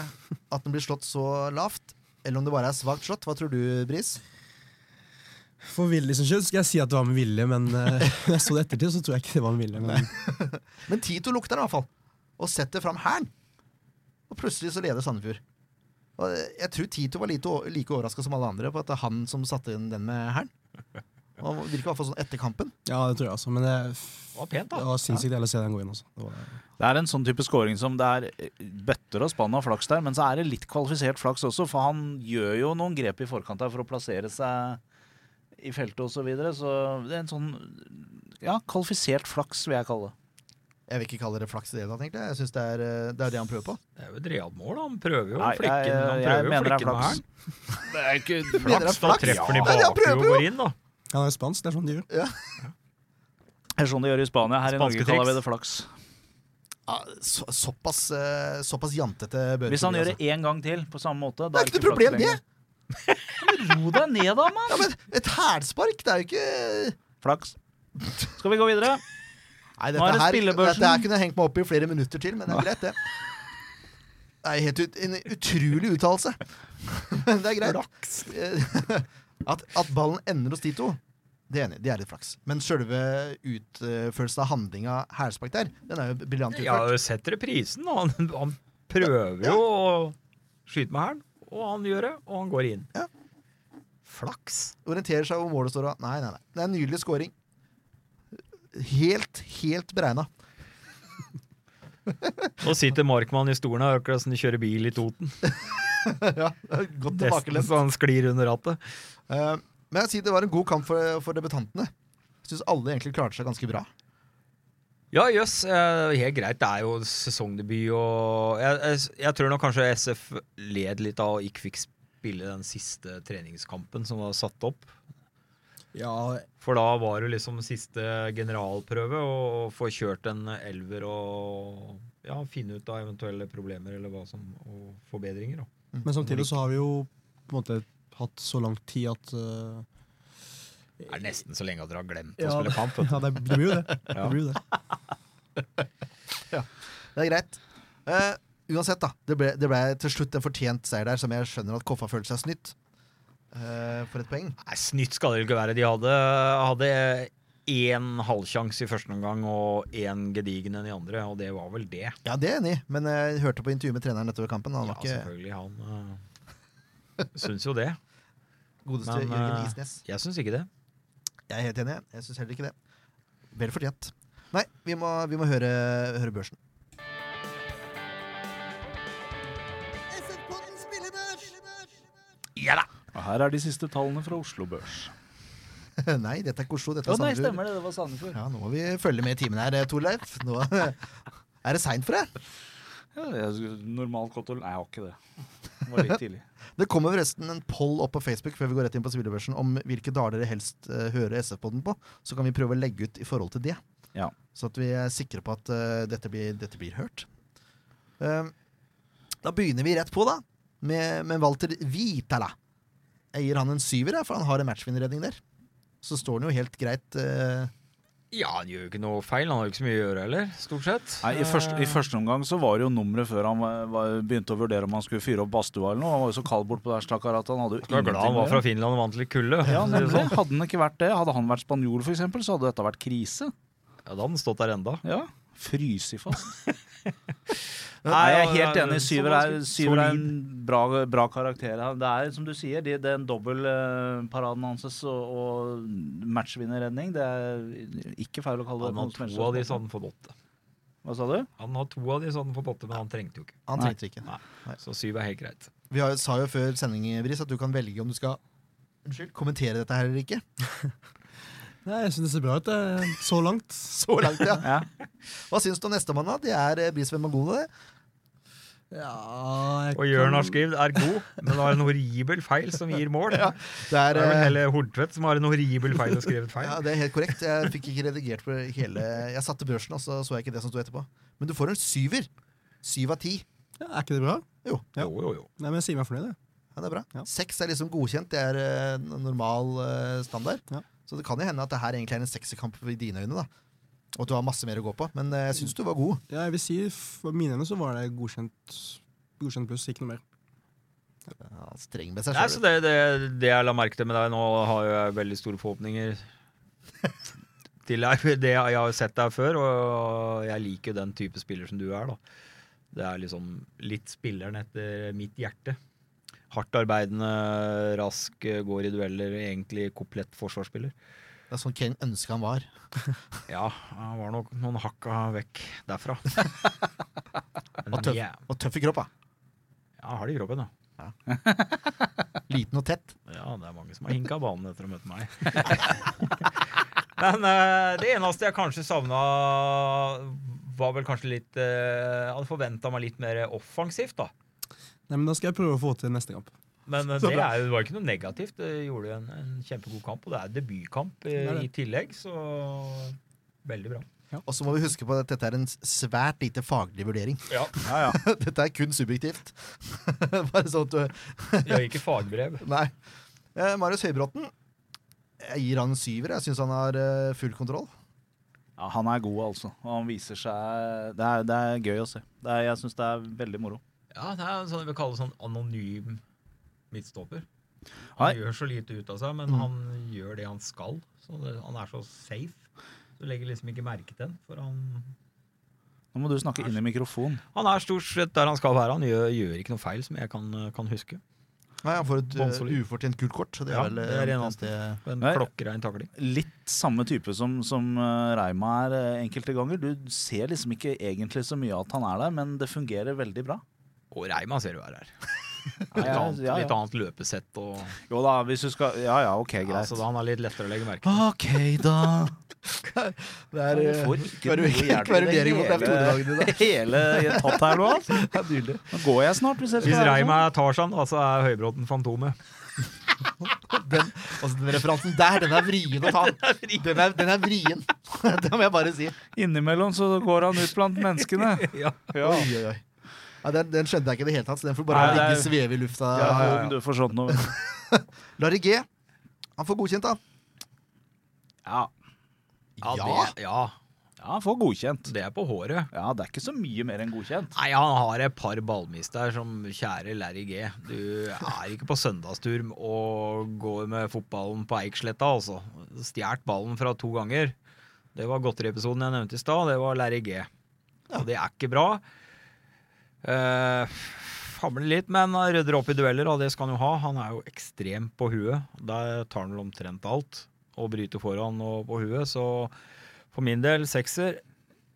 [SPEAKER 3] at den blir slått så lavt, eller om det bare er svakt slått. Hva tror du, Bris?
[SPEAKER 5] For Willy sin skyld skal jeg si at det var med vilje, men eh, når jeg så det ettertid, så tror jeg ikke det var med vilje. Men,
[SPEAKER 3] Men Tito lukter den i hvert fall, og setter fram hæren. Og plutselig så leder Sandefjord. Og eh, jeg tror Tito var lite, o- like overraska som alle andre på at det er han som satte inn den med hæren. Og Han virker i hvert fall sånn etter kampen.
[SPEAKER 5] ja, det tror jeg også. Men det,
[SPEAKER 6] Det var pent,
[SPEAKER 5] det
[SPEAKER 6] da.
[SPEAKER 5] var sinnssykt deilig å se den gå inn også. Det var,
[SPEAKER 4] Det er en sånn type scoring som det er eh, bøtter og spann av flaks der, men så er det litt kvalifisert flaks også, for han gjør jo noen grep i forkant her for å plassere seg i feltet osv. Så, videre, så det er en sånn ja, kvalifisert flaks, vil jeg kalle det.
[SPEAKER 3] Jeg vil ikke kalle det flaks i det hele tatt, egentlig. Jeg synes det er, eh, det er det han prøver på.
[SPEAKER 6] Det er jo et realt mål, da. Han prøver jo å
[SPEAKER 4] Nei,
[SPEAKER 6] flekke
[SPEAKER 4] jeg-
[SPEAKER 6] den- han
[SPEAKER 4] jeg
[SPEAKER 6] prøver jo å
[SPEAKER 4] mener det er
[SPEAKER 6] flekke den med
[SPEAKER 4] flaks.
[SPEAKER 6] hælen. Det er ikke
[SPEAKER 3] Mener det er
[SPEAKER 6] flaks, da
[SPEAKER 3] flaks?
[SPEAKER 6] treffer den i
[SPEAKER 3] Ja, men han
[SPEAKER 6] bakhuet og
[SPEAKER 3] prøver jo.
[SPEAKER 6] går inn, da.
[SPEAKER 5] Han er spansk, det er sånn de gjør.
[SPEAKER 4] Det er sånn de gjør i Spania. Her i Norge
[SPEAKER 6] Spanske
[SPEAKER 4] kaller vi
[SPEAKER 6] triks.
[SPEAKER 4] det flaks.
[SPEAKER 3] Ja, så, såpass, eh, såpass jantete bør
[SPEAKER 4] Hvis han
[SPEAKER 3] bli,
[SPEAKER 4] gjør
[SPEAKER 3] altså.
[SPEAKER 4] det én gang til på samme måte
[SPEAKER 3] Det er ikke noe problem, det!
[SPEAKER 4] Ro deg ned, da, mann!
[SPEAKER 3] Ja, men et hælspark, det er jo ikke
[SPEAKER 4] Flaks. Skal vi gå videre?
[SPEAKER 3] Nei,
[SPEAKER 4] Nå
[SPEAKER 3] dette
[SPEAKER 4] er det
[SPEAKER 3] her,
[SPEAKER 4] spillebørsen.
[SPEAKER 3] dette her kunne jeg hengt meg opp i flere minutter til, men det er greit, det. Det er helt ut, en utrolig uttalelse. Men det er greit. At, at ballen ender hos de to, det er enig, det er litt flaks. Men sjølve utførelsen av handlinga hælspark der, den er jo briljant
[SPEAKER 6] Ja,
[SPEAKER 3] utført.
[SPEAKER 6] det setter reprisen, da. Han, han prøver jo å skyte med hælen, og han gjør det, og han går inn.
[SPEAKER 3] Ja.
[SPEAKER 6] Flaks.
[SPEAKER 3] Orienterer seg hvor målet står og Nei, nei, nei. Det er en nydelig scoring. Helt, helt beregna.
[SPEAKER 6] Nå sitter Markmann i stolen her, akkurat som de kjører bil i Toten.
[SPEAKER 3] ja, godt
[SPEAKER 6] Nesten
[SPEAKER 3] tilbakelent.
[SPEAKER 6] så han sklir under rattet.
[SPEAKER 3] Eh, men jeg sier det var en god kamp for, for debutantene. Jeg syns alle egentlig klarte seg ganske bra.
[SPEAKER 6] Ja, jøss. eh, helt greit. Det er jo sesongdebut og jeg, jeg, jeg tror nok kanskje SF led litt av å ikke fikk spille den siste treningskampen som var satt opp.
[SPEAKER 5] Ja,
[SPEAKER 6] For da var det liksom siste generalprøve å få kjørt en elver og ja, finne ut av eventuelle problemer eller hva som, og forbedringer. Da.
[SPEAKER 5] Men samtidig så har vi jo på en måte hatt så lang tid at eh,
[SPEAKER 6] Det er nesten så lenge at dere har glemt å
[SPEAKER 5] Ja,
[SPEAKER 6] spille kamp.
[SPEAKER 5] ja, det, det blir jo det. det, blir jo det.
[SPEAKER 3] Det er greit. Eh, uansett, da. Det ble, det ble til slutt en fortjent seier der, som jeg skjønner at Koffa følte seg snytt eh, for et poeng.
[SPEAKER 6] Nei, Snytt skal det jo ikke være. De hadde, hadde én halvsjanse i første omgang og én gedigen enn i andre, og det var vel det.
[SPEAKER 3] Ja, det er jeg enig i, men eh, jeg hørte på intervjuet med treneren etter kampen. Han
[SPEAKER 6] Ja,
[SPEAKER 3] var ikke
[SPEAKER 6] selvfølgelig. Han uh, syns jo det.
[SPEAKER 3] godeste
[SPEAKER 6] Men,
[SPEAKER 3] Jørgen
[SPEAKER 6] eh,
[SPEAKER 3] Isnes.
[SPEAKER 6] Jeg syns ikke det.
[SPEAKER 3] Jeg er helt enig. Jeg syns heller ikke det. Vel fortjent. Nei, vi må, vi må høre, høre børsen.
[SPEAKER 6] Ja da!
[SPEAKER 4] Og her er de siste tallene fra Oslo Børs.
[SPEAKER 3] nei, dette er ikke Oslo. Dette
[SPEAKER 4] Å
[SPEAKER 3] er
[SPEAKER 4] nei,
[SPEAKER 3] Sandefjord.
[SPEAKER 4] stemmer det. Det var Sandefjord.
[SPEAKER 3] Ja, nå må vi følge med i timen her, eh, Torleif. Nå er det seint for deg.
[SPEAKER 4] Ja, jeg skulle- normal kottol Nei, jeg har ikke det. Det var litt tidlig.
[SPEAKER 3] Det kommer forresten en poll opp på Facebook før vi går rett inn på spillebørsen om hvilke dager dere helst eh, hører SF-podden på. Så kan vi prøve å legge ut i forhold til det.
[SPEAKER 4] Ja.
[SPEAKER 3] Så at vi er sikre på at eh, dette, blir, dette blir hørt. Ehm, da begynner vi rett på, da. Med, med Walter Vitala. Jeg gir han en syver, jeg, for han har en matchvinnerredning der. Så står han jo helt greit eh,
[SPEAKER 6] Ja, han gjør jo ikke noe feil. Han har jo ikke så mye å gjøre heller, stort sett.
[SPEAKER 4] Nei, i, første, I
[SPEAKER 6] Eh,
[SPEAKER 4] første omgang så var det jo nummeret før han var, var, begynte å vurdere om han skulle fyre opp badstua eller noe. Han var jo så kald bortpå der, stakkar, at han hadde jo
[SPEAKER 6] Jeg er glad han var
[SPEAKER 4] med
[SPEAKER 6] fra
[SPEAKER 4] det.
[SPEAKER 6] Finland og vant til kulde.
[SPEAKER 4] Ja,
[SPEAKER 6] for å si det
[SPEAKER 4] nemlig.
[SPEAKER 6] sånn.
[SPEAKER 4] Hadde han ikke vært det, hadde han vært spanjol f.eks., så hadde dette vært krise.
[SPEAKER 6] Ja, da hadde han stått der enda.
[SPEAKER 4] Ja. Fryse fast. Nei, jeg er helt
[SPEAKER 6] liksom
[SPEAKER 4] enig. Syver er, syver er en bra, bra karakter. her. Det er som du sier, det, det er en dobbel eh, paraden hans og, og matchvinnerredning. Det er ikke feil å kalle det
[SPEAKER 6] Han har
[SPEAKER 4] noe som helst.
[SPEAKER 6] to av de, så hadde han fått åtte.
[SPEAKER 4] Hva sa du?
[SPEAKER 6] Han har to av de, så hadde han fått åtte, men han trengte jo ikke.
[SPEAKER 3] Han
[SPEAKER 4] Nei.
[SPEAKER 3] trengte det ikke.
[SPEAKER 6] Nei. Så syv er helt greit.
[SPEAKER 3] Vi har, sa jo før sending, Bris, at du kan velge om du skal Unnskyld, kommentere dette her eller ikke.
[SPEAKER 5] Nei, jeg synes det ser bra ut, det. Så langt.
[SPEAKER 3] Så langt, ja.
[SPEAKER 4] Ja.
[SPEAKER 3] Hva syns du om nestemann, da? Det er eh, Brisbane Mongolia, det.
[SPEAKER 5] Ja, jeg
[SPEAKER 6] Og Jørn
[SPEAKER 5] kan-
[SPEAKER 6] har skrevet er god, men har en horribel feil som gir mål.
[SPEAKER 3] Det er,
[SPEAKER 6] Det er vel
[SPEAKER 3] eh,
[SPEAKER 6] heller Hortvedt som har en horribel feil og skrevet feil.
[SPEAKER 3] ja, det er helt korrekt. Jeg fikk ikke redigert på hele Jeg satte børsen, og så så jeg ikke det som sto etterpå. Men du får en syver. Syv av ti.
[SPEAKER 5] Ja, er ikke det bra?
[SPEAKER 6] Jo, jo, jo.
[SPEAKER 5] Nei, men jeg sier meg fornøyd, jeg.
[SPEAKER 3] Ja, det er bra.
[SPEAKER 5] Ja.
[SPEAKER 3] Seks er liksom godkjent. Det er eh, n- normal eh, standard.
[SPEAKER 5] Ja.
[SPEAKER 3] Så det kan jo hende at det her egentlig er en sekserkamp i dine øyne, da. Og at du har masse mer å gå på. Men eh, jeg syns du var god.
[SPEAKER 5] Ja, jeg vil si for mine øyne så var det godkjent, godkjent pluss, ikke noe mer.
[SPEAKER 3] Ja, streng med seg
[SPEAKER 6] Nei, så
[SPEAKER 3] sjøl.
[SPEAKER 6] det, det, det jeg la merke til med deg nå, har jo jeg veldig store forhåpninger til deg. for Det, jeg har jo sett deg før, og jeg liker jo den type spiller som du er. da. Det er liksom litt spilleren etter mitt hjerte. Hardt arbeidende, rask, går i dueller, egentlig komplett forsvarsspiller.
[SPEAKER 3] Det er sånn Kane ønska han var.
[SPEAKER 6] Ja, han var nok noen hakka vekk derfra. Men
[SPEAKER 3] Og tøff,
[SPEAKER 6] jæv-
[SPEAKER 3] og tøff i kroppa.
[SPEAKER 6] Ja, har de kroppen, da.
[SPEAKER 3] Liten og tett.
[SPEAKER 6] Ja, det er mange som har hinka banen etter å møte meg. Men eh, det eneste jeg kanskje savna, var vel kanskje litt eh, Jeg hadde forventa meg litt mer offensivt, da.
[SPEAKER 5] Nei, men Da skal jeg prøve å få til neste kamp.
[SPEAKER 6] Men eh, det er jo, det var jo ikke noe negativt. Det gjorde jo en, en kjempegod kamp, og det er debutkamp eh,
[SPEAKER 5] Det er det.
[SPEAKER 6] i tillegg, så veldig bra.
[SPEAKER 3] Og så må vi huske på at dette er en svært lite faglig vurdering.
[SPEAKER 6] Ja,
[SPEAKER 3] Dette er kun subjektivt. Bare sånn at du
[SPEAKER 6] Jeg har ikke fagbrev.
[SPEAKER 3] Nei. Eh, Marius Høybråten. Jeg gir han en syver. Jeg syns han har eh, full kontroll.
[SPEAKER 4] Ja, han er god, altså. Og han viser seg Det er, det er gøy å se. Det er, jeg syns det er veldig moro.
[SPEAKER 6] Ja, det er en sånn jeg vil kalle sånn anonym midtstopper.
[SPEAKER 4] Hei.
[SPEAKER 6] Han gjør så lite ut av seg, men han gjør det han skal. Så det, han er så safe. Du legger liksom ikke merke til den, for han
[SPEAKER 4] Nå må du snakke inn i mikrofonen.
[SPEAKER 6] Han er stort sett der han skal være. Han gjør, gjør ikke noe feil, som jeg kan, kan huske.
[SPEAKER 3] Nei, Han får et eh,
[SPEAKER 6] Bånnsolid.
[SPEAKER 3] ufortjent gult kort. så Det er
[SPEAKER 6] Ja,
[SPEAKER 3] vel eh,
[SPEAKER 6] det er en
[SPEAKER 3] omtrent det-
[SPEAKER 6] Men
[SPEAKER 4] Nei.
[SPEAKER 6] klokkerein takling.
[SPEAKER 4] Litt samme type som, som eh, Reima er eh, enkelte ganger. Du ser liksom ikke egentlig så mye at han er der, men det fungerer veldig bra.
[SPEAKER 6] Og Reima ser du er her.
[SPEAKER 4] Ja,
[SPEAKER 6] Litt
[SPEAKER 4] ja,
[SPEAKER 6] annet,
[SPEAKER 4] ja, ja.
[SPEAKER 6] litt annet løpesett og
[SPEAKER 4] Jo da, hvis du skal Ja ja, OK,
[SPEAKER 6] ja,
[SPEAKER 4] greit. Ah,
[SPEAKER 6] Så da han er litt lettere å legge merke til.
[SPEAKER 4] OK, da.
[SPEAKER 3] Det er eh,
[SPEAKER 4] Jeg får ikke noe hjelp i det
[SPEAKER 3] kverulering mot Leif Tore-dagen i dag.
[SPEAKER 4] Hele tatt her nå, altså. Nå går jeg snart, hvis jeg skal
[SPEAKER 6] Hvis
[SPEAKER 4] være sånn.
[SPEAKER 6] Reima er Tarzan, altså er Høybråten Fantomet.
[SPEAKER 3] Den, altså, den referansen der, den er vrien å ta. Den er, den er vrien. det må jeg bare si.
[SPEAKER 4] sånn. Innimellom så går han ut blant menneskene. Ja.
[SPEAKER 3] Oi, oi, oi. Ja, den, den skjønte jeg ikke i det hele tatt, så den får bare
[SPEAKER 4] Nei, det er-
[SPEAKER 3] ligge sveve i lufta.
[SPEAKER 4] Ja, ja, ja. Du får sånt noe.
[SPEAKER 3] Larry G. Han får godkjent, da.
[SPEAKER 4] Ja,
[SPEAKER 3] Ja.
[SPEAKER 6] Det, ja,
[SPEAKER 4] ja får godkjent.
[SPEAKER 6] det er på håret.
[SPEAKER 4] Ja, det er ikke så mye mer enn godkjent.
[SPEAKER 6] Nei, han har et par ballmiss der som kjære Larry G. Du er ikke på søndagstur og går med fotballen på Eiksletta, altså. Stjålet ballen fra to ganger. Det var godteriepisoden jeg nevnte i stad. Det var Larry G. Og det er ikke bra. Eh, Famler litt, men han rydder opp i dueller, og det skal han jo ha. Han er jo ekstrem på huet. Der tar han vel omtrent alt. Og bryter foran og på huet, så for min del sekser.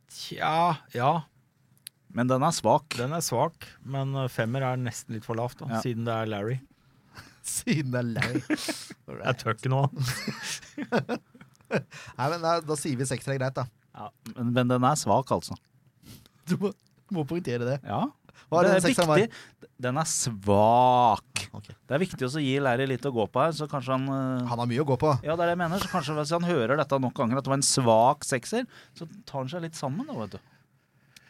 [SPEAKER 6] Tja, ja.
[SPEAKER 4] Men den er svak.
[SPEAKER 6] Den er svak, men eh, femmer er nesten litt for lavt, da,
[SPEAKER 4] Ja.
[SPEAKER 6] siden det er Larry.
[SPEAKER 3] Siden det er Larry.
[SPEAKER 6] Jeg tør ikke noe.
[SPEAKER 3] Nei, men da, da sier vi sekser er greit, da.
[SPEAKER 4] Ja, men, men den er svak, altså.
[SPEAKER 3] Du må, må poengtere det.
[SPEAKER 4] Ja.
[SPEAKER 3] Hva er
[SPEAKER 4] det
[SPEAKER 3] det
[SPEAKER 4] er
[SPEAKER 3] sekseren var?
[SPEAKER 4] viktig. Den er svak.
[SPEAKER 3] Ok.
[SPEAKER 4] Det er viktig også å gi Larry litt å gå på her, så kanskje han eh,
[SPEAKER 3] Han har mye å gå på.
[SPEAKER 4] Ja, det er det jeg mener. Så kanskje hvis han hører dette nok ganger, at det var en svak sekser, så tar han seg litt sammen, da, vet du.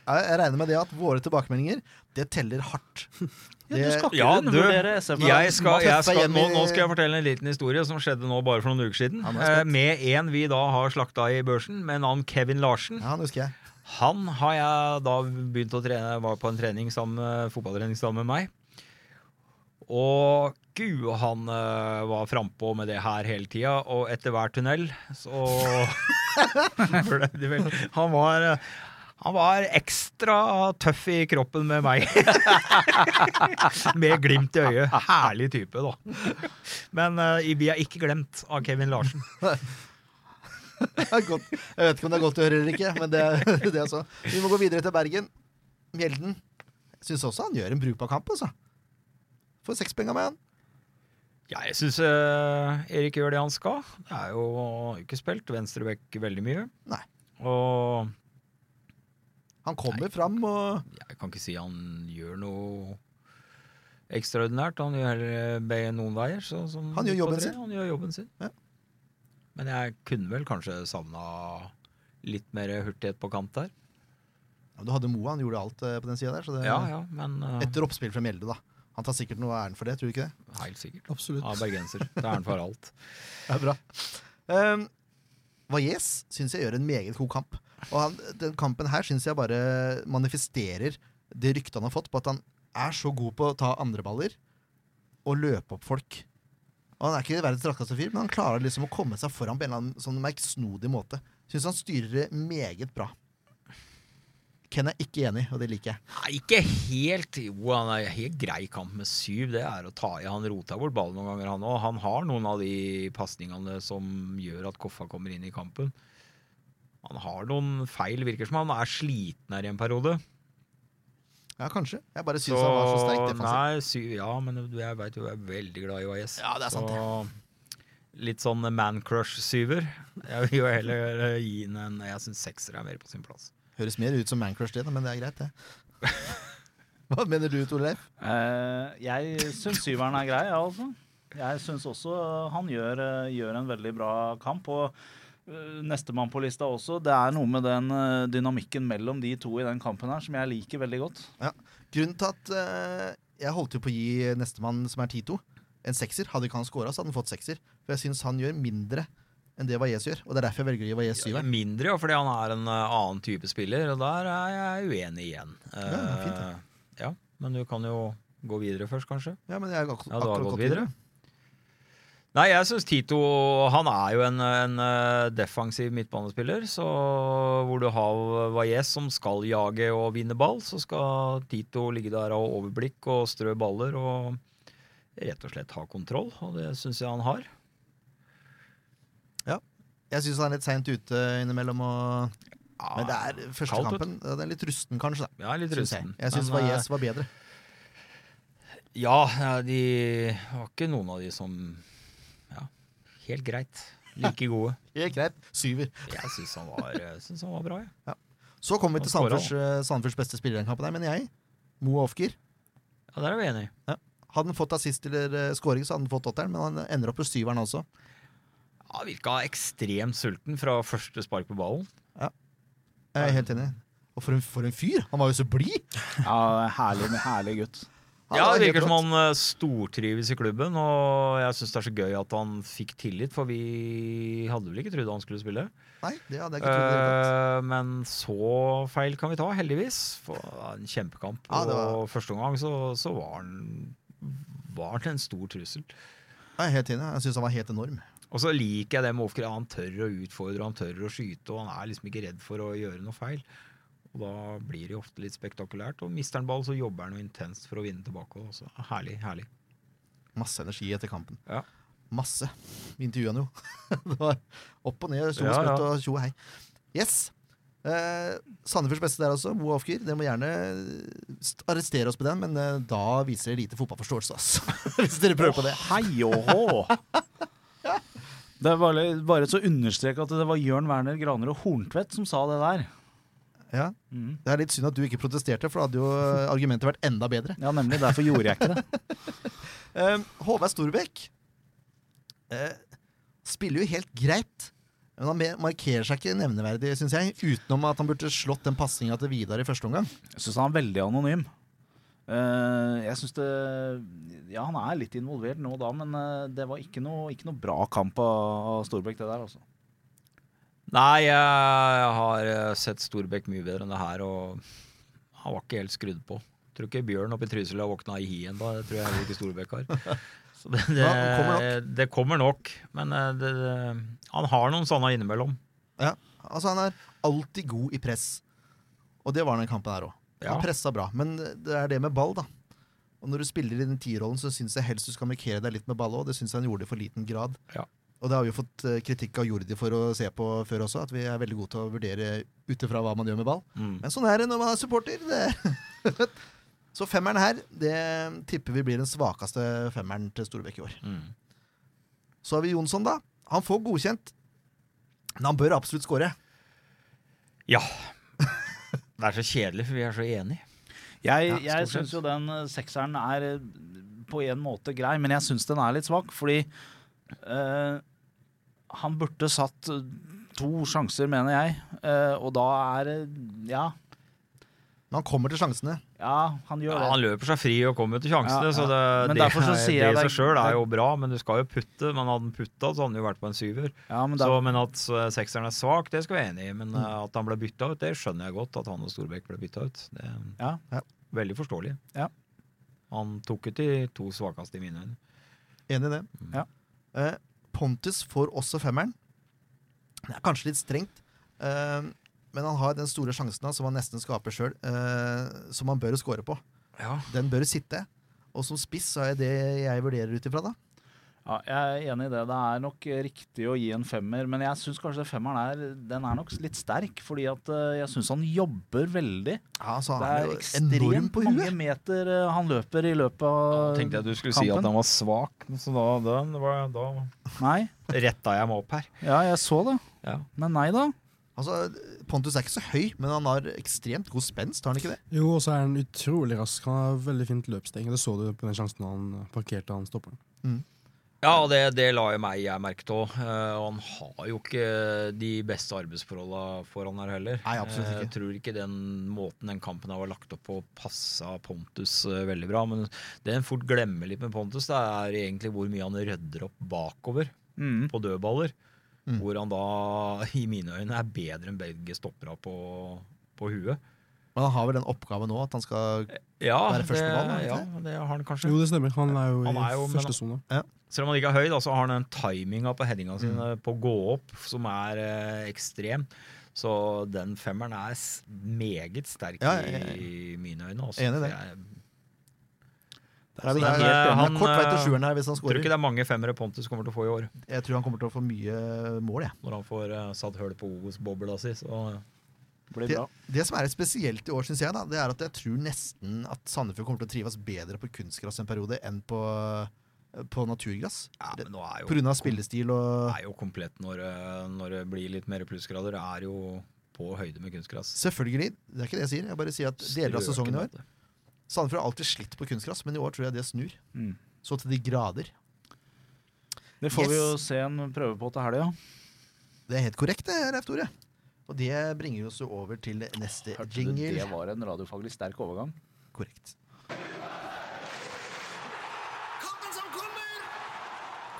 [SPEAKER 3] Jeg jeg regner med det at våre tilbakemeldinger, det teller hardt.
[SPEAKER 4] Ja, du
[SPEAKER 3] Det-
[SPEAKER 4] skal ikke
[SPEAKER 6] Ja, du,
[SPEAKER 4] undervurdere SF. -erne.
[SPEAKER 6] Jeg skal, jeg skal,
[SPEAKER 3] hjemme
[SPEAKER 6] nå,
[SPEAKER 3] i-
[SPEAKER 6] nå skal jeg fortelle en liten historie som skjedde nå bare for noen uker siden.
[SPEAKER 3] Ja, nå er jeg
[SPEAKER 6] Eh,
[SPEAKER 3] spent.
[SPEAKER 6] med en vi da har slakta i børsen, med navn Kevin Larsen.
[SPEAKER 3] Ja, han husker jeg.
[SPEAKER 6] Han har jeg da begynt å trene, var på en trening sammen, med- fotballtrening sammen med meg. Og gud, han eh, var frampå med det her hele tida, og etter hver tunnel så ble det vel Han var eh, han var ekstra tøff i kroppen med meg. med glimt i øyet. Herlig type, da. Men eh, vi er ikke glemt av Kevin Larsen.
[SPEAKER 3] Det er godt. Jeg vet ikke om det er godt å høre eller ikke, men det, det er så. Vi må gå videre til Bergen. Mjelden. Jeg syns også han gjør en brukbar kamp, altså. Får seks penger med han.
[SPEAKER 6] Ja, jeg syns Erik gjør det han skal. Det er jo ikke spilt venstrebekk veldig mye.
[SPEAKER 3] Nei.
[SPEAKER 6] Og
[SPEAKER 3] Han kommer fram og
[SPEAKER 6] jeg kan ikke si han gjør noe ekstraordinært. Han gjør heller begge noen veier. Så, som
[SPEAKER 3] Han gjør
[SPEAKER 6] midt på
[SPEAKER 3] jobben
[SPEAKER 6] tre.
[SPEAKER 3] sin.
[SPEAKER 6] Han gjør jobben sin.
[SPEAKER 3] Ja.
[SPEAKER 6] Men jeg kunne vel kanskje savna litt mer hurtighet på kant der.
[SPEAKER 3] Ja, Du hadde Moa, han gjorde alt eh, på den sida der. Så det,
[SPEAKER 6] Ja, ja, men eh,
[SPEAKER 3] Etter oppspill fra Mjelde, da. Han tar sikkert noe av æren for det, tror du ikke det?
[SPEAKER 6] helt sikkert.
[SPEAKER 5] Absolutt.
[SPEAKER 6] Ja, bergenser. Det er han for alt.
[SPEAKER 3] Det er bra. Um, Valles syns jeg gjør en meget god kamp. Og han, den kampen her syns jeg bare manifesterer det ryktet han har fått på at han er så god på å ta andre baller og løpe opp folk. Og Han er ikke verdens raskeste fyr, men han klarer liksom å komme seg foran på en eller annen sånn merksnodig måte. Syns han styrer det meget bra. Ken er ikke enig, og det liker jeg.
[SPEAKER 6] Nei, ikke helt. Jo, han er helt grei kamp med syv. Det er å ta i. Han rota bort ballen noen ganger, han òg. Han har noen av de pasningene som gjør at Koffa kommer inn i kampen. Han har noen feil, virker som. Han er sliten her i en periode.
[SPEAKER 3] Ja, kanskje. Jeg bare syns han var så sterk defensiv.
[SPEAKER 6] Nei, syv, ja, men jeg veit jo jeg er veldig glad i AIS.
[SPEAKER 3] Ja, det er sant, det.
[SPEAKER 6] Så Litt sånn mancrush-syver. Jeg vil jo heller eh, gi den en Jeg syns sekser er mer på sin plass.
[SPEAKER 3] Høres mer ut som Mancrush, det, da, men det er greit, det. Hva mener du, Tore Leif?
[SPEAKER 4] Eh, jeg syns syveren er grei, jeg, altså. Jeg syns også han gjør, eh, gjør en veldig bra kamp. Og eh, nestemann på lista også. Det er noe med den eh, dynamikken mellom de to i den kampen her som jeg liker veldig godt.
[SPEAKER 3] Grunnen til at eh, jeg holdt jo på å gi nestemann, som er Tito, en sekser. Hadde ikke han scora, så hadde han fått sekser. For jeg syns han gjør mindre enn det Vajez gjør, og det er derfor jeg velger å gi Vajez
[SPEAKER 6] Ja,
[SPEAKER 3] syveren.
[SPEAKER 6] mindre, ja, fordi han er en eh, annen type spiller, og der er jeg uenig igjen. Eh,
[SPEAKER 3] Ja, fint, det.
[SPEAKER 6] ja, men du kan jo gå videre først, kanskje.
[SPEAKER 3] Ja, men jeg har akkurat,
[SPEAKER 6] Ja, du har
[SPEAKER 3] akkurat
[SPEAKER 6] gått videre. Nei, jeg syns Tito Han er jo en, en eh, defensiv midtbanespiller. Så hvor du har Valles som skal jage og vinne ball, så skal Tito ligge der og ha overblikk og strø baller og rett og slett ha kontroll. Og det syns jeg han har.
[SPEAKER 3] Jeg syns han er litt seint ute innimellom. Og...
[SPEAKER 6] Ja,
[SPEAKER 3] Men det er første
[SPEAKER 6] Ah, kaldt ut.
[SPEAKER 3] kampen. Det er litt rusten, kanskje. da
[SPEAKER 6] ja, litt
[SPEAKER 3] synes jeg
[SPEAKER 6] rusten.
[SPEAKER 3] jeg syns
[SPEAKER 6] Men, eh,
[SPEAKER 3] Vajez var bedre.
[SPEAKER 6] Ja, ja, de var ikke noen av de som Ja, helt greit. Like gode.
[SPEAKER 3] Helt greit. Syver.
[SPEAKER 6] Jeg syns han, var- jeg synes han var bra, jeg.
[SPEAKER 3] Så kommer vi til
[SPEAKER 6] Han scoret
[SPEAKER 3] Sandefjords eh, Sandefjords beste spiller i den kampen, her, mener jeg. Moe Ofker.
[SPEAKER 6] Ja. ja, der er vi enige.
[SPEAKER 3] Hadde han fått assist eller eh, scoring, så hadde han fått åtteren, men han ender opp på syveren også.
[SPEAKER 6] Ja, virka ekstremt sulten fra første spark på ballen.
[SPEAKER 3] Jeg er helt enig. Og for en, for en fyr! Han var jo så blid!
[SPEAKER 4] Ja, herlig, herlig gutt.
[SPEAKER 3] Han
[SPEAKER 6] Ja,
[SPEAKER 3] var
[SPEAKER 6] Det
[SPEAKER 3] helt
[SPEAKER 6] virker som
[SPEAKER 3] rått.
[SPEAKER 6] han eh, stortrives i klubben, og jeg syns det er så gøy at han fikk tillit, for vi hadde vel ikke trodd han skulle spille.
[SPEAKER 3] Nei, det hadde jeg ikke trodd. i det hele tatt.
[SPEAKER 6] Eh, Men så feil kan vi ta, heldigvis. For det var en kjempekamp.
[SPEAKER 3] Ja, det var-
[SPEAKER 6] Og første omgang så, så var han var han en stor trussel. Eh.
[SPEAKER 3] Jeg er helt enig. Jeg syns han var helt enorm.
[SPEAKER 6] Og så liker jeg det med Ofker. Han tør å utfordre, han tør å skyte, og han er liksom ikke redd for å gjøre noe feil. Og da blir det jo ofte litt spektakulært. Og mister han ball, så jobber han jo intenst for å vinne tilbake. og så- Herlig, herlig.
[SPEAKER 3] Masse energi etter kampen.
[SPEAKER 6] Ja.
[SPEAKER 3] Masse. Vi intervjua han jo. det var opp og ned, sto og
[SPEAKER 6] Ja, ja.
[SPEAKER 3] sprøtt og tjo og hei. Yes. Eh, Sandefjords beste der også, Moe Ofker. Dere må gjerne st- arrestere oss på den, men eh, da viser dere lite fotballforståelse, altså. Hvis dere prøver på det.
[SPEAKER 4] Hei og hå! Det er bare, bare så understreke at det var Jørn Werner Graner og Horntvedt som sa det der.
[SPEAKER 3] Ja.
[SPEAKER 4] Mm.
[SPEAKER 3] Det er litt synd at du ikke protesterte, for da hadde jo eh, argumentet vært enda bedre.
[SPEAKER 4] Ja, nemlig. Derfor gjorde jeg ikke det.
[SPEAKER 3] Eh, Håvard Storbekk eh, spiller jo helt greit, men han mer- markerer seg ikke nevneverdig, syns jeg. Utenom at han burde slått den pasninga til Vidar i første omgang.
[SPEAKER 4] Jeg syns han er veldig anonym. Eh, jeg synes det Ja, han er litt involvert nå og da, men eh, det var ikke noe, ikke noe bra kamp av av Storbekk, det der, altså.
[SPEAKER 6] Nei, jeg, jeg har eh, sett Storbekk mye bedre enn det her, og han var ikke helt skrudd på. Tror ikke Bjørn oppe i Trysil har våkna i hien da, det tror jeg ikke Storbekk har. Så det, det,
[SPEAKER 3] Ja, han kommer
[SPEAKER 6] det kommer nok, men eh, det, det, han har noen sånne innimellom.
[SPEAKER 3] Ja. Altså, han er alltid god i press, og det var den kampen her òg.
[SPEAKER 6] Ja.
[SPEAKER 3] Han pressa bra, men det er det med ball, da. Og når du spiller i den tierrollen, så syns jeg helst du skal markere deg litt med ball òg. Det syns jeg han gjorde i for liten grad.
[SPEAKER 6] Ja.
[SPEAKER 3] Og det har vi jo fått eh, kritikk av Jordi for å se på før også, at vi er veldig gode til å vurdere ut ifra hva man gjør med ball.
[SPEAKER 6] Mm.
[SPEAKER 3] Men sånn er det når man er supporter. Det. Så femmeren her, det tipper vi blir den svakeste femmeren til Storbekk i år.
[SPEAKER 6] Mm.
[SPEAKER 3] Så har vi Jonsson, da. Han får godkjent, men han bør absolutt skåre.
[SPEAKER 6] Ja. Det er så kjedelig, for vi er så enige.
[SPEAKER 4] Jeg,
[SPEAKER 6] Ja,
[SPEAKER 4] jeg
[SPEAKER 6] stort sett.
[SPEAKER 4] syns jo den eh, sekseren er eh, på en måte grei, men jeg syns den er litt svak, fordi eh, han burde satt eh, to sjanser, mener jeg, eh, og da er det Ja,
[SPEAKER 3] Men han kommer til sjansene.
[SPEAKER 4] ja, han gjør
[SPEAKER 6] Ja,
[SPEAKER 4] det.
[SPEAKER 6] han løper seg fri og kommer til sjansene,
[SPEAKER 4] Ja,
[SPEAKER 6] så det,
[SPEAKER 4] Men
[SPEAKER 6] det,
[SPEAKER 4] derfor så
[SPEAKER 6] er-
[SPEAKER 4] sier jeg
[SPEAKER 6] det i
[SPEAKER 4] det-
[SPEAKER 6] seg sjøl
[SPEAKER 4] det-
[SPEAKER 6] er jo bra, men du skal jo putte. Men hadde han putta, så hadde han jo vært på en syver.
[SPEAKER 4] Ja, men
[SPEAKER 6] Så,
[SPEAKER 4] der,
[SPEAKER 6] men at eh, sekseren er svak, det skal vi være enig i. Men eh, at han ble bytta ut, det skjønner jeg godt. At han og Storbekk ble bytta ut. Det er
[SPEAKER 4] Ja.
[SPEAKER 3] Ja.
[SPEAKER 6] Veldig forståelig.
[SPEAKER 4] Ja.
[SPEAKER 6] Han tok ut de to svakeste i mine øyne.
[SPEAKER 3] Enig i det.
[SPEAKER 4] Ja.
[SPEAKER 3] Eh, Pontus får også femmeren. Det er kanskje litt strengt, eh, Men han har den store sjansen da, som han nesten skaper sjøl, eh, som han bør score på.
[SPEAKER 4] Ja.
[SPEAKER 3] Den bør sitte. Og som spiss så er det jeg vurderer ut ifra, da.
[SPEAKER 4] Ja, jeg er enig i det. Det er nok riktig å gi en femmer, men jeg syns kanskje femmeren er, den er nok litt sterk. Fordi at eh, jeg syns han jobber veldig.
[SPEAKER 3] Ja, så han
[SPEAKER 4] Det er
[SPEAKER 3] jo enorm
[SPEAKER 4] ekstremt
[SPEAKER 3] på
[SPEAKER 4] mange
[SPEAKER 3] huet.
[SPEAKER 4] meter eh, han løper i løpet av
[SPEAKER 6] Tenkte jeg du skulle si
[SPEAKER 4] kampen.
[SPEAKER 6] at den var svak, så da, da, det var- da
[SPEAKER 4] Nei.
[SPEAKER 6] retta jeg meg opp her.
[SPEAKER 4] Ja, jeg så det.
[SPEAKER 6] Ja.
[SPEAKER 4] Men nei da.
[SPEAKER 3] Altså, Pontus er ikke så høy, men han har ekstremt god spenst, har han ikke det?
[SPEAKER 5] Jo, og så er han utrolig rask. Han har veldig fint løpssteg. Det så du på den sjansen han parkerte han stopperen.
[SPEAKER 6] Ja, og det, det la jo meg jeg merke til òg. han har jo ikke de beste arbeidsforholda foran her heller.
[SPEAKER 3] Nei, absolutt
[SPEAKER 6] Eh,
[SPEAKER 3] ikke.
[SPEAKER 6] Jeg tror ikke den måten den kampen her var lagt opp på, passa Pontus eh, veldig bra. Men det en fort glemmer litt med Pontus, det er egentlig hvor mye han rydder opp bakover
[SPEAKER 4] Mm.
[SPEAKER 6] på dødballer.
[SPEAKER 3] Mm.
[SPEAKER 6] Hvor han da, i mine øyne, er bedre enn begge stoppera på, på huet.
[SPEAKER 3] Men han har vel den oppgaven nå, at han skal
[SPEAKER 6] Ja,
[SPEAKER 3] Det er det første ballen, er det
[SPEAKER 6] ja,
[SPEAKER 3] ikke
[SPEAKER 6] det har han kanskje.
[SPEAKER 5] Jo, det stemmer. Han er jo
[SPEAKER 6] Han er
[SPEAKER 5] i
[SPEAKER 6] jo- men-
[SPEAKER 5] første sone.
[SPEAKER 6] Selv om han ikke er høy, da, så har han den timinga på
[SPEAKER 3] Mm.
[SPEAKER 6] headinga sine på å gå opp som er eh, ekstrem. Så den femmeren er s meget sterk
[SPEAKER 3] Ja, jeg- jeg-
[SPEAKER 6] i mine øyne. Også.
[SPEAKER 3] Enig i det.
[SPEAKER 6] Jeg
[SPEAKER 3] Der er vi
[SPEAKER 6] Så
[SPEAKER 3] der.
[SPEAKER 6] det er-
[SPEAKER 3] Han,
[SPEAKER 6] han,
[SPEAKER 3] er kort vei til
[SPEAKER 6] eh,
[SPEAKER 3] sjueren her hvis han
[SPEAKER 6] tror
[SPEAKER 3] scorer.
[SPEAKER 6] ikke det er mange femmere Pontus kommer til å få i år,
[SPEAKER 3] Jeg tror han kommer til å få mye mål, jeg.
[SPEAKER 6] når han får eh, satt høl på Ovos-bobla si. Så
[SPEAKER 4] Blir
[SPEAKER 3] Det,
[SPEAKER 4] bra.
[SPEAKER 3] det som er litt spesielt i år, synes jeg, da, det er at jeg tror nesten at Sandefjord kommer til å trives bedre på kunstgras en periode enn på, eh, på naturgras.
[SPEAKER 6] ja, men nå er jo,
[SPEAKER 3] Pga. spillestil og
[SPEAKER 6] er jo komplett når, eh, når det blir litt mer plussgrader. Det er jo på høyde med kunstgras.
[SPEAKER 3] Selvfølgelig, det er ikke det jeg sier. Jeg bare sier at deler av sesongen i år Sandefjord har alltid slitt på kunstgras, men i år tror jeg det snur.
[SPEAKER 4] Mm.
[SPEAKER 3] Så til de grader.
[SPEAKER 4] Det får vi
[SPEAKER 3] Yes.
[SPEAKER 4] jo se en prøve på til helga.
[SPEAKER 3] Det er helt korrekt, det, Leif Tore. Og det bringer oss jo over til neste jingle.
[SPEAKER 4] Det var en radiofaglig sterk overgang.
[SPEAKER 3] Korrekt.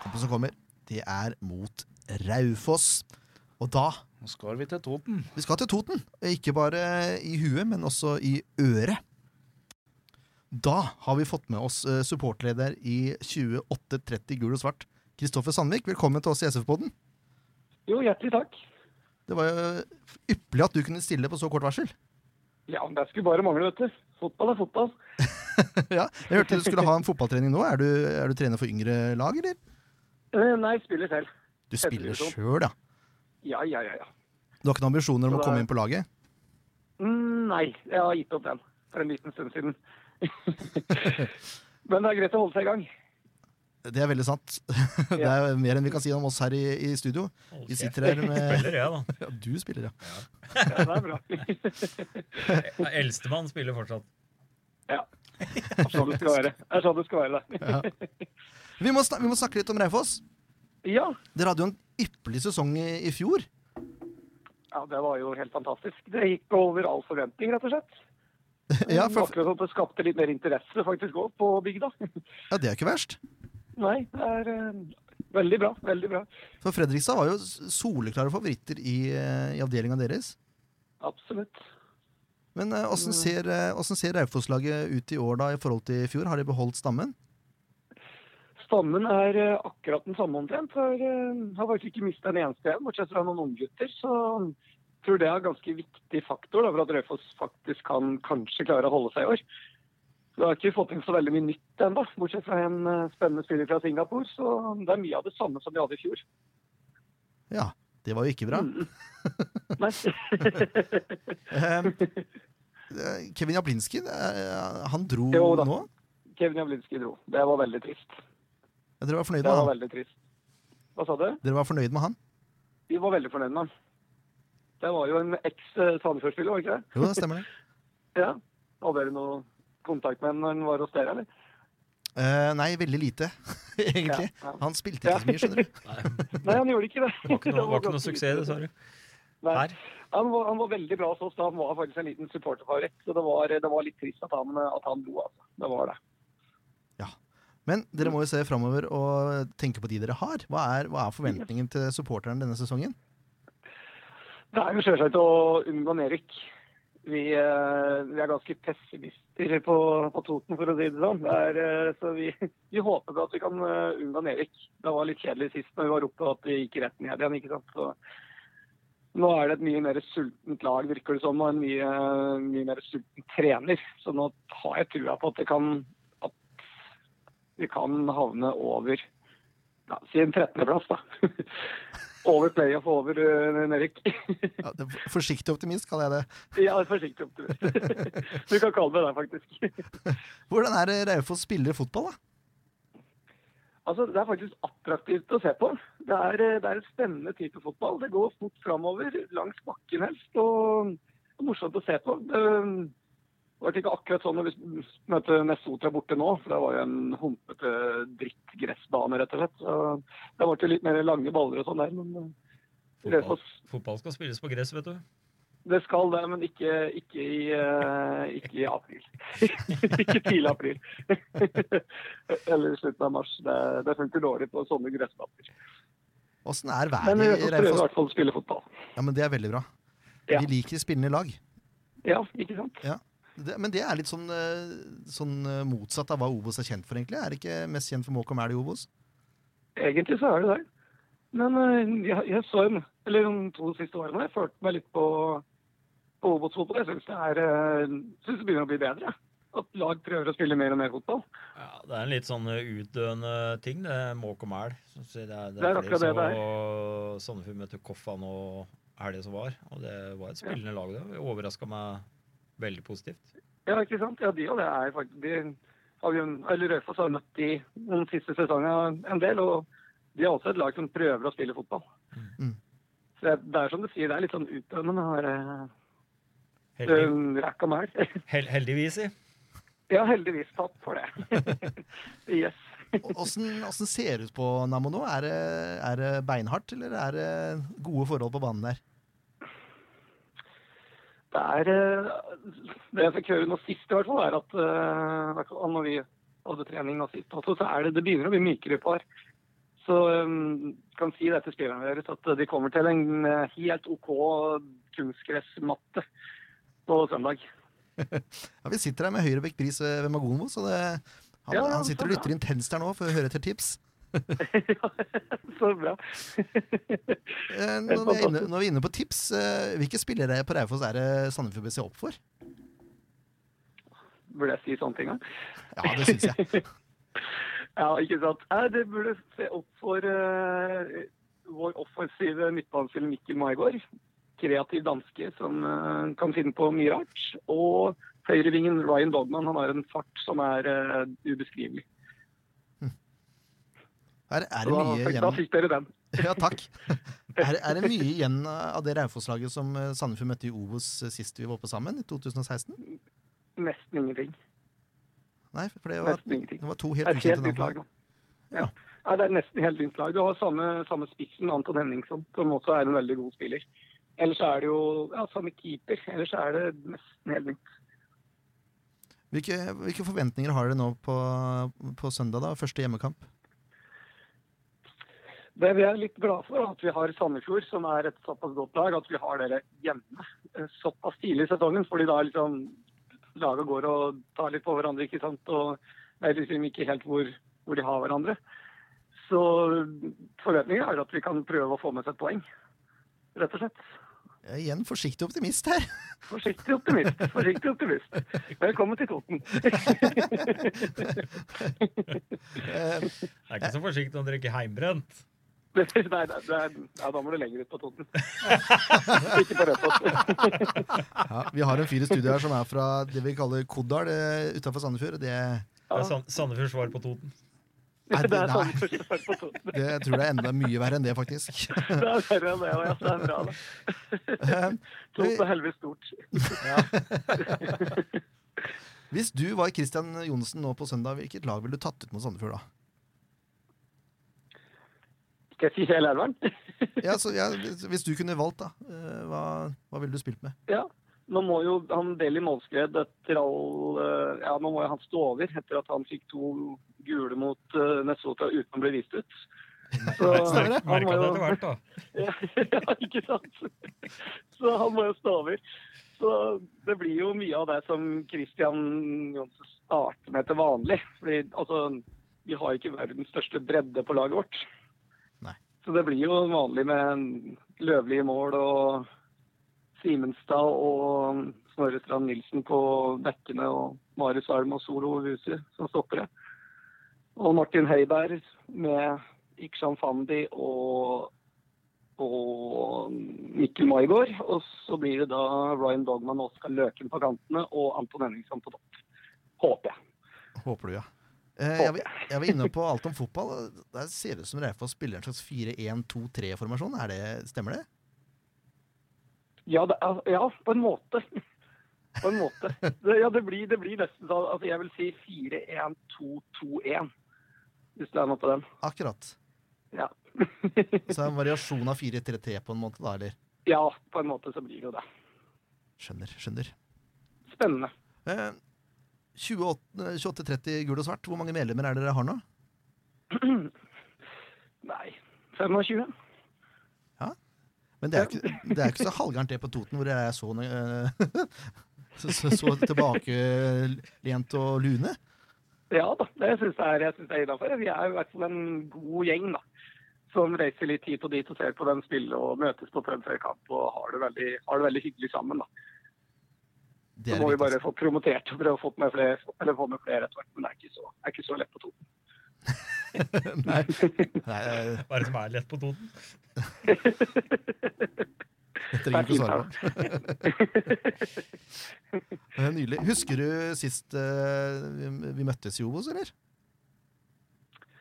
[SPEAKER 3] Kampen som kommer! Det er mot Raufoss. Og da
[SPEAKER 4] Nå skal vi til Toten.
[SPEAKER 3] Vi skal til Toten. Ikke bare i huet, men også i øret. Da har vi fått med oss eh, supportleder i 2830 gul og svart, Kristoffer Sandvik. Velkommen til oss i SF-podden.
[SPEAKER 7] Jo, hjertelig takk.
[SPEAKER 3] Det var jo eh, ypperlig at du kunne stille på så kort varsel.
[SPEAKER 7] Ja, men det skulle bare mangle, vet du. Fotball er fotball.
[SPEAKER 3] ja, jeg hørte du skulle ha en fotballtrening nå. Er du, er du trener for yngre lag, eller?
[SPEAKER 7] Eh, Nei, spiller selv.
[SPEAKER 3] Du
[SPEAKER 7] Etter
[SPEAKER 3] spiller
[SPEAKER 7] divisjon.
[SPEAKER 3] sjøl, ja.
[SPEAKER 7] Ja, ja, ja. ja.
[SPEAKER 3] Du har ikke noen ambisjoner om å
[SPEAKER 7] Så det
[SPEAKER 3] komme
[SPEAKER 7] er-
[SPEAKER 3] inn på laget?
[SPEAKER 7] Mm, Nei, jeg har gitt opp den for en liten stund siden. men det er greit å holde seg i gang.
[SPEAKER 3] Det er veldig sant. Det er mer enn vi kan si om oss her i, i studio. Vi sitter her med
[SPEAKER 6] Spiller, jeg, da.
[SPEAKER 3] ja, Du spiller, ja.
[SPEAKER 7] Ja, det er bra.
[SPEAKER 6] Eldstemann spiller fortsatt.
[SPEAKER 7] ja. Det er sånn det skal være. Det er sånn det skal være, det.
[SPEAKER 3] Vi må, snak vi må snakke litt om Raufoss.
[SPEAKER 7] Ja.
[SPEAKER 3] Dere hadde jo en ypperlig sesong i, i fjor.
[SPEAKER 7] ja, det var jo helt fantastisk. Det gikk over all forventning, rett og slett.
[SPEAKER 3] Ja, for,
[SPEAKER 7] Akkurat som det skapte litt mer interesse faktisk òg på bygda.
[SPEAKER 3] ja Det er jo ikke verst.
[SPEAKER 7] Nei, det er eh, veldig bra. Veldig bra.
[SPEAKER 3] For Fredrikstad var jo s- soleklare favoritter i, eh, i avdelinga deres.
[SPEAKER 7] Absolutt.
[SPEAKER 3] Men eh,
[SPEAKER 7] Mm.
[SPEAKER 3] åssen ser, eh, hvordan ser Raufoss-laget ut i år da i forhold til i fjor? Har de beholdt stammen?
[SPEAKER 7] Stammen er eh, akkurat den samme omtrent. Har, eh, har faktisk ikke mista en eneste en, bortsett fra noen unggutter. Så jeg tror det er en ganske viktig faktor da, for at Raufoss faktisk kan kanskje klare å holde seg i år. Vi har ikke fått inn så veldig mye nytt ennå, bortsett fra en eh, spennende spiller fra Singapore. Så det er mye av det samme som vi hadde i fjor.
[SPEAKER 3] Ja, det var jo ikke bra.
[SPEAKER 7] Mm. Nei.
[SPEAKER 3] Eh, eh, Kevin Jablinski, eh, han dro
[SPEAKER 7] Jo da.
[SPEAKER 3] nå?
[SPEAKER 7] Kevin Javlinski dro. Det var veldig trist.
[SPEAKER 3] Dere var fornøyd
[SPEAKER 7] Det
[SPEAKER 3] med
[SPEAKER 7] var
[SPEAKER 3] han?
[SPEAKER 7] veldig trist. Hva sa du?
[SPEAKER 3] Dere var fornøyd med han?
[SPEAKER 7] Vi var veldig fornøyd med han. Det var jo en eks-Sandefjord-spiller, var det ikke det?
[SPEAKER 3] Jo, det stemmer det.
[SPEAKER 7] Ja. Hadde dere noe kontakt med ham når han var hos dere, eller?
[SPEAKER 3] Eh, nei, veldig lite, egentlig.
[SPEAKER 7] Ja, ja.
[SPEAKER 3] Han spilte ikke så mye, skjønner du.
[SPEAKER 7] Nei, han gjorde ikke det.
[SPEAKER 6] Det var ikke noe,
[SPEAKER 7] Det
[SPEAKER 6] var ikke noe
[SPEAKER 7] ganske
[SPEAKER 6] suksess,
[SPEAKER 7] lite.
[SPEAKER 6] dessverre.
[SPEAKER 7] Nei.
[SPEAKER 6] Her.
[SPEAKER 7] Han, var, han var veldig bra hos oss da. Han var faktisk en liten supporterfavoritt. Så det var, det var litt trist at han, at han dro, altså. Det var det.
[SPEAKER 3] Men dere må jo se framover og tenke på de dere har. Hva er, hva er forventningen til supporterne denne sesongen?
[SPEAKER 7] Det er jo sjølsagt å unngå nedrykk. Vi, eh, vi er ganske pessimister på, på Toten, for å si det sånn. Det er, eh, så vi, vi håper på at vi kan eh, unngå nedrykk. Det var litt kjedelig sist når vi var oppe at vi gikk rett ned igjen, ikke sant. Så Nå er det et mye mer sultent lag, virker det som, og en mye, mye mer sulten trener. Så nå har jeg trua på at, det kan, at vi kan havne over ja, Si en 13.-plass, da. over playoff og over eh, nedrykk.
[SPEAKER 3] Ja, det er forsiktig optimist, kaller jeg det.
[SPEAKER 7] ja, forsiktig optimist. du kan kalle meg det, faktisk.
[SPEAKER 3] Hvordan er det Raufoss spiller fotball, da?
[SPEAKER 7] Altså, Det er faktisk attraktivt å se på. Det er, eh, det er en spennende type fotball. Det går fort framover, langs bakken helst, og det er morsomt å se på. Det var ikke akkurat sånn når vi møtte Nessotra borte nå, for det var jo en humpete drittgressbane, rett og slett. Så det ble jo litt mer lange baller og sånn der, men eh,
[SPEAKER 6] Fotball,
[SPEAKER 7] Raufoss
[SPEAKER 6] fotball skal spilles på gress, vet du.
[SPEAKER 7] det skal det, men ikke, ikke, i, eh, ikke i april. ikke tidlig april. Eller i slutten av mars. Det, det funker dårlig på sånne gressbaner.
[SPEAKER 3] Åssen er
[SPEAKER 7] Men vi
[SPEAKER 3] været i
[SPEAKER 7] prøver i
[SPEAKER 3] Raufoss?
[SPEAKER 7] hvert fall å spille fotball.
[SPEAKER 3] Ja, men det er veldig bra.
[SPEAKER 7] Ja.
[SPEAKER 3] Vi liker spillende lag.
[SPEAKER 7] Ja, ikke sant?
[SPEAKER 3] Det, men det er litt sånn, eh, sånn eh, motsatt av hva Obos er kjent for, egentlig. Er det ikke mest kjent for Måkom Elg i Obos?
[SPEAKER 7] Egentlig så er det det. Men eh, jeg, jeg så en, eller de to siste årene jeg følte meg litt på, på Obos-fotball. Jeg syns det, er, eh, synes det begynner å bli bedre. At lag prøver å spille mer og mer fotball.
[SPEAKER 6] Ja, det er en litt sånn utdøende ting, det er måk og mæl. Så si Det er, det
[SPEAKER 7] Det er
[SPEAKER 6] er
[SPEAKER 7] akkurat det det er.
[SPEAKER 6] Og Sandefjord møtte Koffa nå helga som var, og det var et spillende lag, det. Det overraska meg veldig positivt.
[SPEAKER 7] Ja, ikke sant? Ja, de og det er faktisk de har vi, eller Raufoss har møtt de den siste sesongen en del, og de er også et lag som prøver å spille fotball.
[SPEAKER 3] Mm.
[SPEAKER 7] Så det, det er som du sier, det er litt sånn utdømmende her. eh,
[SPEAKER 6] Heldig,
[SPEAKER 7] Uh, Rækk og mæl.
[SPEAKER 6] hel, heldigvis, si.
[SPEAKER 7] Ja, heldigvis. Takk for det. yes.
[SPEAKER 3] Åssen åssen ser det ut på Nammo nå? Er det, er det beinhardt, eller er det gode forhold på banen der?
[SPEAKER 7] Det er eh, Det jeg fikk høre nå sist, i hvert fall, er at eh, i hvert fall når vi hadde trening nå sist, også, så er det, det begynner å bli mykere par. Så um, kan si det til spillerne deres at de kommer til en eh, helt OK kunstgressmatte på søndag.
[SPEAKER 3] Ja, Vi sitter her med Høyrebekk Pris eh, ved Magonvo, så det, han,
[SPEAKER 7] Ja,
[SPEAKER 3] han sitter og
[SPEAKER 7] så bra.
[SPEAKER 3] lytter intenst her nå for å høre etter tips.
[SPEAKER 7] Ja, så bra.
[SPEAKER 3] Eh, Når vi er inne, når vi er inne på tips, eh, hvilke spillere på Raufoss er det Sandefjord bør se opp for?
[SPEAKER 7] Burde jeg si sånne ting, da?
[SPEAKER 3] Ja, det syns jeg.
[SPEAKER 7] Ja, ikke sant. Nei, det burde se opp for eh, vår offensive midtbanespiller Mikkel Maigård. Kreativ danske som eh, kan finne på mye rart. Og høyrevingen Ryan Dogman. Han har en fart som er eh, ubeskrivelig.
[SPEAKER 3] Her er det
[SPEAKER 7] Da,
[SPEAKER 3] mye
[SPEAKER 7] fikk- da
[SPEAKER 3] igjen.
[SPEAKER 7] fikk dere den.
[SPEAKER 3] Ja, takk. Er, er det mye igjen av det Raufoss-laget som eh, Sandefjord møtte i Obos eh, sist vi var oppe sammen, i 2016?
[SPEAKER 7] Nesten ingenting.
[SPEAKER 3] Nei, for det var,
[SPEAKER 7] Nesten ingenting.
[SPEAKER 3] det var to
[SPEAKER 7] Det er
[SPEAKER 3] helt
[SPEAKER 7] et helt
[SPEAKER 3] ukjente
[SPEAKER 7] nytt
[SPEAKER 3] navn.
[SPEAKER 7] lag nå. Ja. Nei, det er nesten helt nytt lag. Du har samme, samme spissen, Anton Henningson, som også er en veldig god spiller. Ellers er det jo ja, samme keeper. Ellers er det nesten helt nytt.
[SPEAKER 3] Hvilke, hvilke forventninger har dere nå på, på søndag, da? Første hjemmekamp?
[SPEAKER 7] Det vi er litt glad for, er at vi har Sandefjord, som er et såpass godt lag, at vi har dere hjemme eh, såpass tidlig i sesongen. fordi da er liksom laget går og tar litt på hverandre, ikke sant. Og det er liksom ikke helt hvor, hvor de har hverandre. Så forventningen er at vi kan prøve å få med oss et poeng, rett og slett.
[SPEAKER 3] Jeg er igjen forsiktig optimist her.
[SPEAKER 7] Forsiktig optimist. Forsiktig optimist. Velkommen til Toten.
[SPEAKER 3] Eh,
[SPEAKER 6] Det er ikke så forsiktig å drikke heimbrent.
[SPEAKER 7] Nei, det, det, er- ja, da må du lenger ut på Toten. Ikke på Rødfoss.
[SPEAKER 3] Ja, vi har en fyr i studio her som er fra det vi kaller Kodal utafor Sandefjord. og Det,
[SPEAKER 6] Det er Sand- Sandefjords svar på Toten.
[SPEAKER 3] Nei,
[SPEAKER 7] Det
[SPEAKER 3] det-
[SPEAKER 7] er
[SPEAKER 3] nei.
[SPEAKER 7] Sandefjord som er på Toten.
[SPEAKER 3] det jeg tror det er enda mye verre enn det, faktisk.
[SPEAKER 7] Det er verre enn det, og jeg, det er bra, det.
[SPEAKER 3] Ehm,
[SPEAKER 7] Stort og helvete stort.
[SPEAKER 3] Hvis du var Christian Johnsen nå på søndag, hvilket lag ville du tatt ut mot Sandefjord da?
[SPEAKER 7] Skal jeg si hele elveren?
[SPEAKER 3] Ja, så, ja, hvis du kunne valgt, da. eh, Hva, hva ville du spilt med?
[SPEAKER 7] Ja. Nå må jo han Deli Målskred etter all eh, Ja, nå må jo han stå over etter at han fikk to gule mot uh, Nessotra uten å bli vist ut. Så
[SPEAKER 6] Merka det
[SPEAKER 7] han må
[SPEAKER 6] etter
[SPEAKER 7] jo
[SPEAKER 6] hvert, da.
[SPEAKER 7] ja, ikke sant? Så han må jo stå over. Så det blir jo mye av det som Christian Johnsen starter med til vanlig. Fordi altså, vi har ikke verdens største bredde på laget vårt.
[SPEAKER 3] Nei.
[SPEAKER 7] Så det blir jo vanlig med Løvli i mål og Simenstad og Snorre Strand Nilsen på bekkene og Marius Alm og Solo Husi som stoppere. Og Martin Heiberg med Ikshan Fandi og, og Mikkel Maigård. Og så blir det da Ryan Dogman og Oskar Løken på kantene og Anton Henningsen på topp. Håper jeg.
[SPEAKER 3] Håper du, ja. Eh, Jeg, var- jeg var inne på alt om fotball. Der ser det ut som Raufoss spiller en slags 4-1-2-3-formasjon. Er det, stemmer det?
[SPEAKER 7] Ja, det er, ja på en måte. På en måte. Det, ja, det blir, det blir nesten sånn altså Jeg vil si 4-1-2-2-1. Hvis det er noe på den.
[SPEAKER 3] Akkurat.
[SPEAKER 7] Ja.
[SPEAKER 3] Så en variasjon av 4-3-3 på en måte, da, eller?
[SPEAKER 7] ja, på en måte så blir det jo det.
[SPEAKER 3] Skjønner, skjønner.
[SPEAKER 7] Spennende.
[SPEAKER 3] Eh, 28 eh, 28-30 gul og svart, hvor mange medlemmer er det dere har nå?
[SPEAKER 7] Nei. 25?
[SPEAKER 3] Men det er ikke, det er ikke så halvgærent det på Toten, hvor det er så, eh, så, så, så tilbakelent og lune.
[SPEAKER 7] Ja da, det syns jeg er, jeg synes det er innafor. Vi er i hvert fall en god gjeng, da. Som reiser litt hit og dit og ser på dem spille og møtes på pub før kamp og har det veldig, har det veldig hyggelig sammen. da.
[SPEAKER 3] Det
[SPEAKER 7] Så
[SPEAKER 3] er
[SPEAKER 7] må
[SPEAKER 3] det
[SPEAKER 7] vi bare
[SPEAKER 3] viktigste.
[SPEAKER 7] få promotert og prøve å få med flere, eller få med flere etter hvert. Men det er ikke så, det er ikke så lett på to.
[SPEAKER 3] Nei, nei, eh,
[SPEAKER 6] Hva er det som er lett på Toten?
[SPEAKER 3] det trenger vi ikke å svare på. Eh, Nydelig. Husker du sist eh, vi- vi møttes i Obos, eller?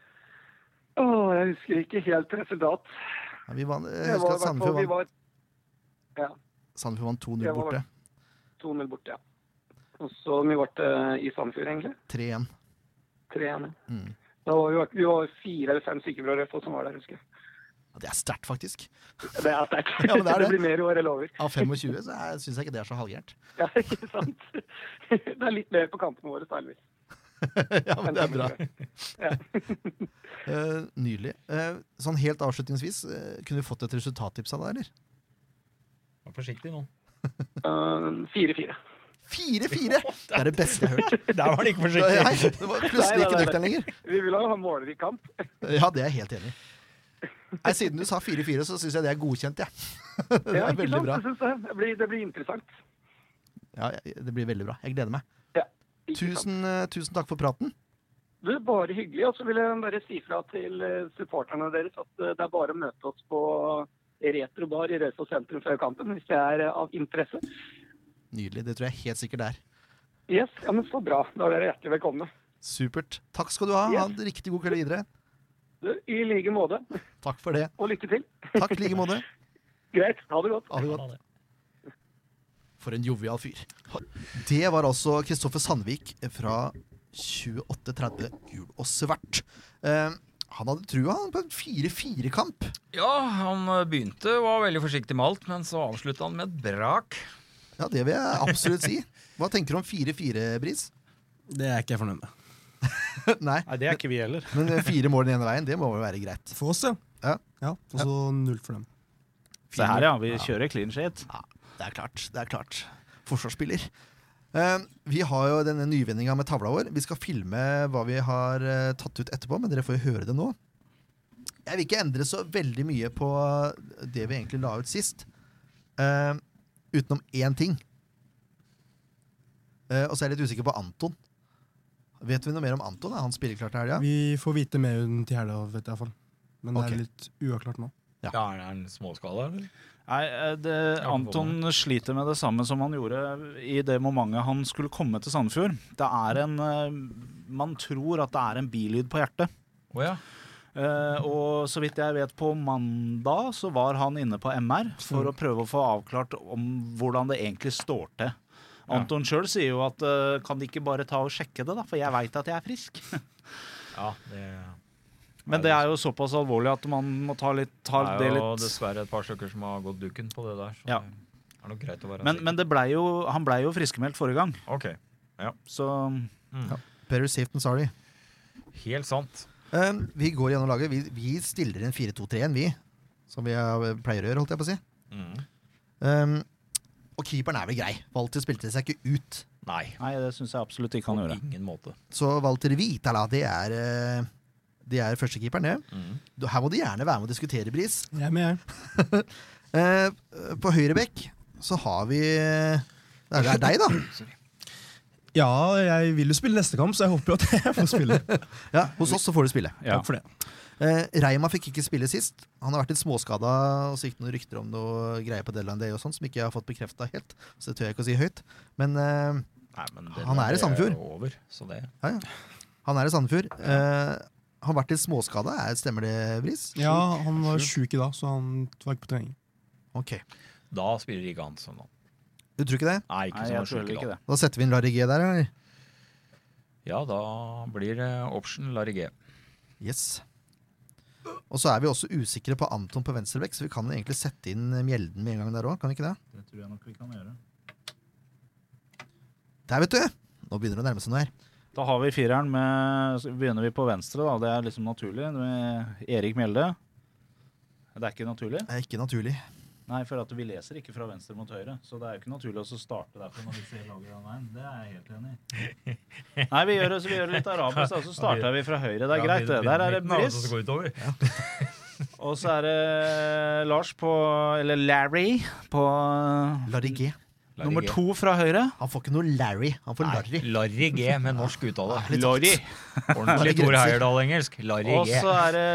[SPEAKER 7] Åh, jeg husker ikke helt resultat.
[SPEAKER 3] Ja, Vi vant, jeg
[SPEAKER 7] Det
[SPEAKER 3] husker
[SPEAKER 7] var,
[SPEAKER 3] at
[SPEAKER 7] i hvert fall-
[SPEAKER 3] Sandefjord
[SPEAKER 7] vi
[SPEAKER 3] vant,
[SPEAKER 7] var
[SPEAKER 3] Sandefjord vant 2-0
[SPEAKER 7] Jeg var-
[SPEAKER 3] borte.
[SPEAKER 7] 2-0 borte, ja. Og så mye ble det eh, i Sandefjord, egentlig.
[SPEAKER 3] 3-1.
[SPEAKER 7] 3-1.
[SPEAKER 3] Mm.
[SPEAKER 7] Da var vi, vi var fire eller fem stykker fra Rødfoss som var der, husker jeg.
[SPEAKER 3] Ja, Det er sterkt, faktisk.
[SPEAKER 7] Det er sterkt.
[SPEAKER 3] Ja, men det er det.
[SPEAKER 7] blir mer i år, jeg lover.
[SPEAKER 3] Av 25 så syns jeg ikke det er så halvgærent.
[SPEAKER 7] Ja, ikke sant? Det er litt mer på kampene våre, Steinvis.
[SPEAKER 3] ja, men det er bra.
[SPEAKER 7] Ja.
[SPEAKER 3] Eh, Nydelig. Eh, sånn helt avslutningsvis, eh, kunne vi fått et resultattips av deg, eller?
[SPEAKER 6] Vær forsiktig nå.
[SPEAKER 7] Ehm, 4-4.
[SPEAKER 3] 4-4! Det er det beste jeg har hørt.
[SPEAKER 6] Der var han ikke
[SPEAKER 3] Nei,
[SPEAKER 6] forsiktig.
[SPEAKER 3] det var plutselig
[SPEAKER 7] Nei, nei,
[SPEAKER 3] ikke
[SPEAKER 7] nei.
[SPEAKER 3] nøktern lenger.
[SPEAKER 7] vi vil ha målrik kamp.
[SPEAKER 3] Ja, det er jeg helt enig i. Nei, Siden du sa 4-4, så syns jeg det er godkjent, jeg. Det
[SPEAKER 7] Ja,
[SPEAKER 3] er
[SPEAKER 7] ikke
[SPEAKER 3] veldig
[SPEAKER 7] sant?
[SPEAKER 3] bra.
[SPEAKER 7] Jeg synes det. Det, blir, det blir interessant.
[SPEAKER 3] Ja, jeg- det blir veldig bra. Jeg gleder meg.
[SPEAKER 7] Ikke sant?
[SPEAKER 3] Tusen, eh, tusen takk for praten.
[SPEAKER 7] Du, bare hyggelig. Og så vil jeg bare si fra til eh, supporterne deres at eh, det er bare å møte oss på Retrobar i Raufoss sentrum før kampen hvis det er eh, av interesse.
[SPEAKER 3] Nydelig. Det tror jeg helt sikkert det er.
[SPEAKER 7] Yes, ja, men Så bra. Da er dere hjertelig velkomne.
[SPEAKER 3] Supert. Takk skal du ha.
[SPEAKER 7] Yes.
[SPEAKER 3] Ha en riktig god kveld videre.
[SPEAKER 7] Du, I like måte.
[SPEAKER 3] Takk for det.
[SPEAKER 7] Og lykke til.
[SPEAKER 3] Takk i like måte.
[SPEAKER 7] Greit. Ha det godt.
[SPEAKER 3] Ha det godt. For en jovial fyr. Det var altså Kristoffer Sandvik fra 2830 Gul og svart. Eh, han hadde trua han, på en 4-4-kamp.
[SPEAKER 6] Ja, han eh, begynte og var veldig forsiktig med alt, men så avslutta han med et brak.
[SPEAKER 3] Ja, det vil jeg absolutt si. Hva tenker du om 4-4-bris?
[SPEAKER 5] Det er ikke jeg fornøyd med.
[SPEAKER 3] Nei,
[SPEAKER 4] Nei, det er ikke vi heller.
[SPEAKER 3] men fire mål den ene veien, det må vel være greit.
[SPEAKER 5] For oss, ja.
[SPEAKER 3] Ja.
[SPEAKER 5] Og så null for dem.
[SPEAKER 4] Se her, ja. Vi kjører clean shit.
[SPEAKER 3] Det er klart. det er klart. Forsvarsspiller. Eh, vi har jo denne nyvinninga med tavla vår. Vi skal filme hva vi har eh, tatt ut etterpå, men dere får jo høre det nå. Jeg vil ikke endre så veldig mye på det vi egentlig la ut sist, eh, utenom én ting. Eh, og så er jeg litt usikker på Anton. Vet vi noe mer om Anton? Er han spilleklar til helga?
[SPEAKER 5] Vi får vite mer enn til helga, vet jeg iallfall. Men det
[SPEAKER 3] Ok.
[SPEAKER 5] er litt uavklart nå.
[SPEAKER 3] Ja.
[SPEAKER 6] Ja, Er det en småskala, eller?
[SPEAKER 4] Nei, eh, det,
[SPEAKER 6] Ja,
[SPEAKER 4] Anton sliter med det samme som han gjorde i det momentet han skulle komme til Sandefjord. Det er en eh, Man tror at det er en bilyd på hjertet.
[SPEAKER 6] Å ja.
[SPEAKER 4] Eh, og så vidt jeg vet, på mandag så var han inne på MR for å prøve å få avklart om hvordan det egentlig står til. Anton sjøl sier jo at eh, kan de ikke bare ta og sjekke det, da, for jeg veit at jeg er frisk.
[SPEAKER 6] ja det,
[SPEAKER 4] Men det er jo såpass alvorlig at man må ta, litt, ta
[SPEAKER 6] det
[SPEAKER 4] det
[SPEAKER 6] er jo
[SPEAKER 4] litt
[SPEAKER 6] dessverre et par stykker som har gått dukken på det der. Så
[SPEAKER 4] Ja.
[SPEAKER 6] det er nok greit å være
[SPEAKER 4] Men, men det blei jo, han blei jo friskmeldt forrige gang,
[SPEAKER 6] sikker. Ok,
[SPEAKER 4] så
[SPEAKER 3] Better safe than sorry.
[SPEAKER 6] Helt sant.
[SPEAKER 3] Eh, vi går gjennom laget. Vi, vi stiller en 4-2-3-1, vi. Som vi eh, pleier å gjøre, holdt jeg på å si.
[SPEAKER 6] Mm.
[SPEAKER 3] Um, og keeperen er vel grei. Walter spilte seg ikke ut.
[SPEAKER 6] Nei,
[SPEAKER 4] Nei, det syns jeg absolutt ikke
[SPEAKER 6] på
[SPEAKER 4] han gjorde.
[SPEAKER 6] ingen måte.
[SPEAKER 3] Så Walter Vitala, det er eh, Det er førstekeeperen, det.
[SPEAKER 5] Mm.
[SPEAKER 3] Du- Her må du gjerne være med å diskutere, Bris.
[SPEAKER 5] Jeg er med, jeg.
[SPEAKER 3] Eh, på høyrebekk så har vi eh, Det er det er deg, da.
[SPEAKER 5] Ja, jeg vil jo spille neste kamp, så jeg håper jo at jeg får spille.
[SPEAKER 3] Ja, hos oss så får du spille.
[SPEAKER 4] Ja.
[SPEAKER 5] Takk for det.
[SPEAKER 3] Eh, Reima fikk ikke spille sist. Han har vært litt småskada og så gikk det noen rykter om noe greier på Deadline Day og sånt, som ikke jeg har fått bekrefta helt. Så det tør jeg ikke å si høyt. Men eh,
[SPEAKER 6] Nei, men
[SPEAKER 3] Han er i Sandefjord.
[SPEAKER 6] er Over, så det
[SPEAKER 3] han er i Sandefjord. Eh, han har vært litt småskada. Er- Stemmer det, Bris?
[SPEAKER 5] Ja, han var sjuk i dag, så han var ikke på trening.
[SPEAKER 3] Ok.
[SPEAKER 6] Da spiller ikke han sånn nå.
[SPEAKER 3] Du tror ikke det?
[SPEAKER 6] Nei, ikke
[SPEAKER 4] Nei,
[SPEAKER 6] sånn
[SPEAKER 4] jeg tror
[SPEAKER 6] han sjuk i
[SPEAKER 4] heller
[SPEAKER 6] dag.
[SPEAKER 4] ikke det.
[SPEAKER 3] Da setter vi inn Larry G der, eller?
[SPEAKER 6] Ja, da blir det option Larigé.
[SPEAKER 3] Yes. Og så er vi også usikre på Anton på venstrebekk, så vi kan egentlig sette inn Mjelden med en gang der òg, kan vi ikke det?
[SPEAKER 4] Det tror jeg nok vi kan gjøre.
[SPEAKER 3] Der, vet du! Nå begynner det å nærme seg noe her.
[SPEAKER 4] Da har vi fireren med så Begynner vi på venstre, da. Det er liksom naturlig. Med Erik Mjelde. Det er ikke naturlig.
[SPEAKER 3] Det er ikke naturlig.
[SPEAKER 4] Nei, for at vi leser ikke fra venstre mot høyre. Så det er jo ikke naturlig å så starte derfor når vi ser lager den veien. Det er jeg helt enig i. Nei, vi gjør det, så vi gjør det litt arabisk, da. Så starter vi fra høyre. Det er greit, det. Der er det Briss. Og så er det eh, Lars på Eller Larry på
[SPEAKER 3] Larry G.
[SPEAKER 4] nummer to fra høyre.
[SPEAKER 3] Han får ikke noe Larry, han får Larry.
[SPEAKER 6] Larry G med norsk uttale.
[SPEAKER 4] Larry.
[SPEAKER 3] Larry
[SPEAKER 6] Ordentlig Tore
[SPEAKER 3] Grenser.
[SPEAKER 6] Heyerdahl-engelsk. Larry
[SPEAKER 4] Og
[SPEAKER 6] G.
[SPEAKER 4] så er det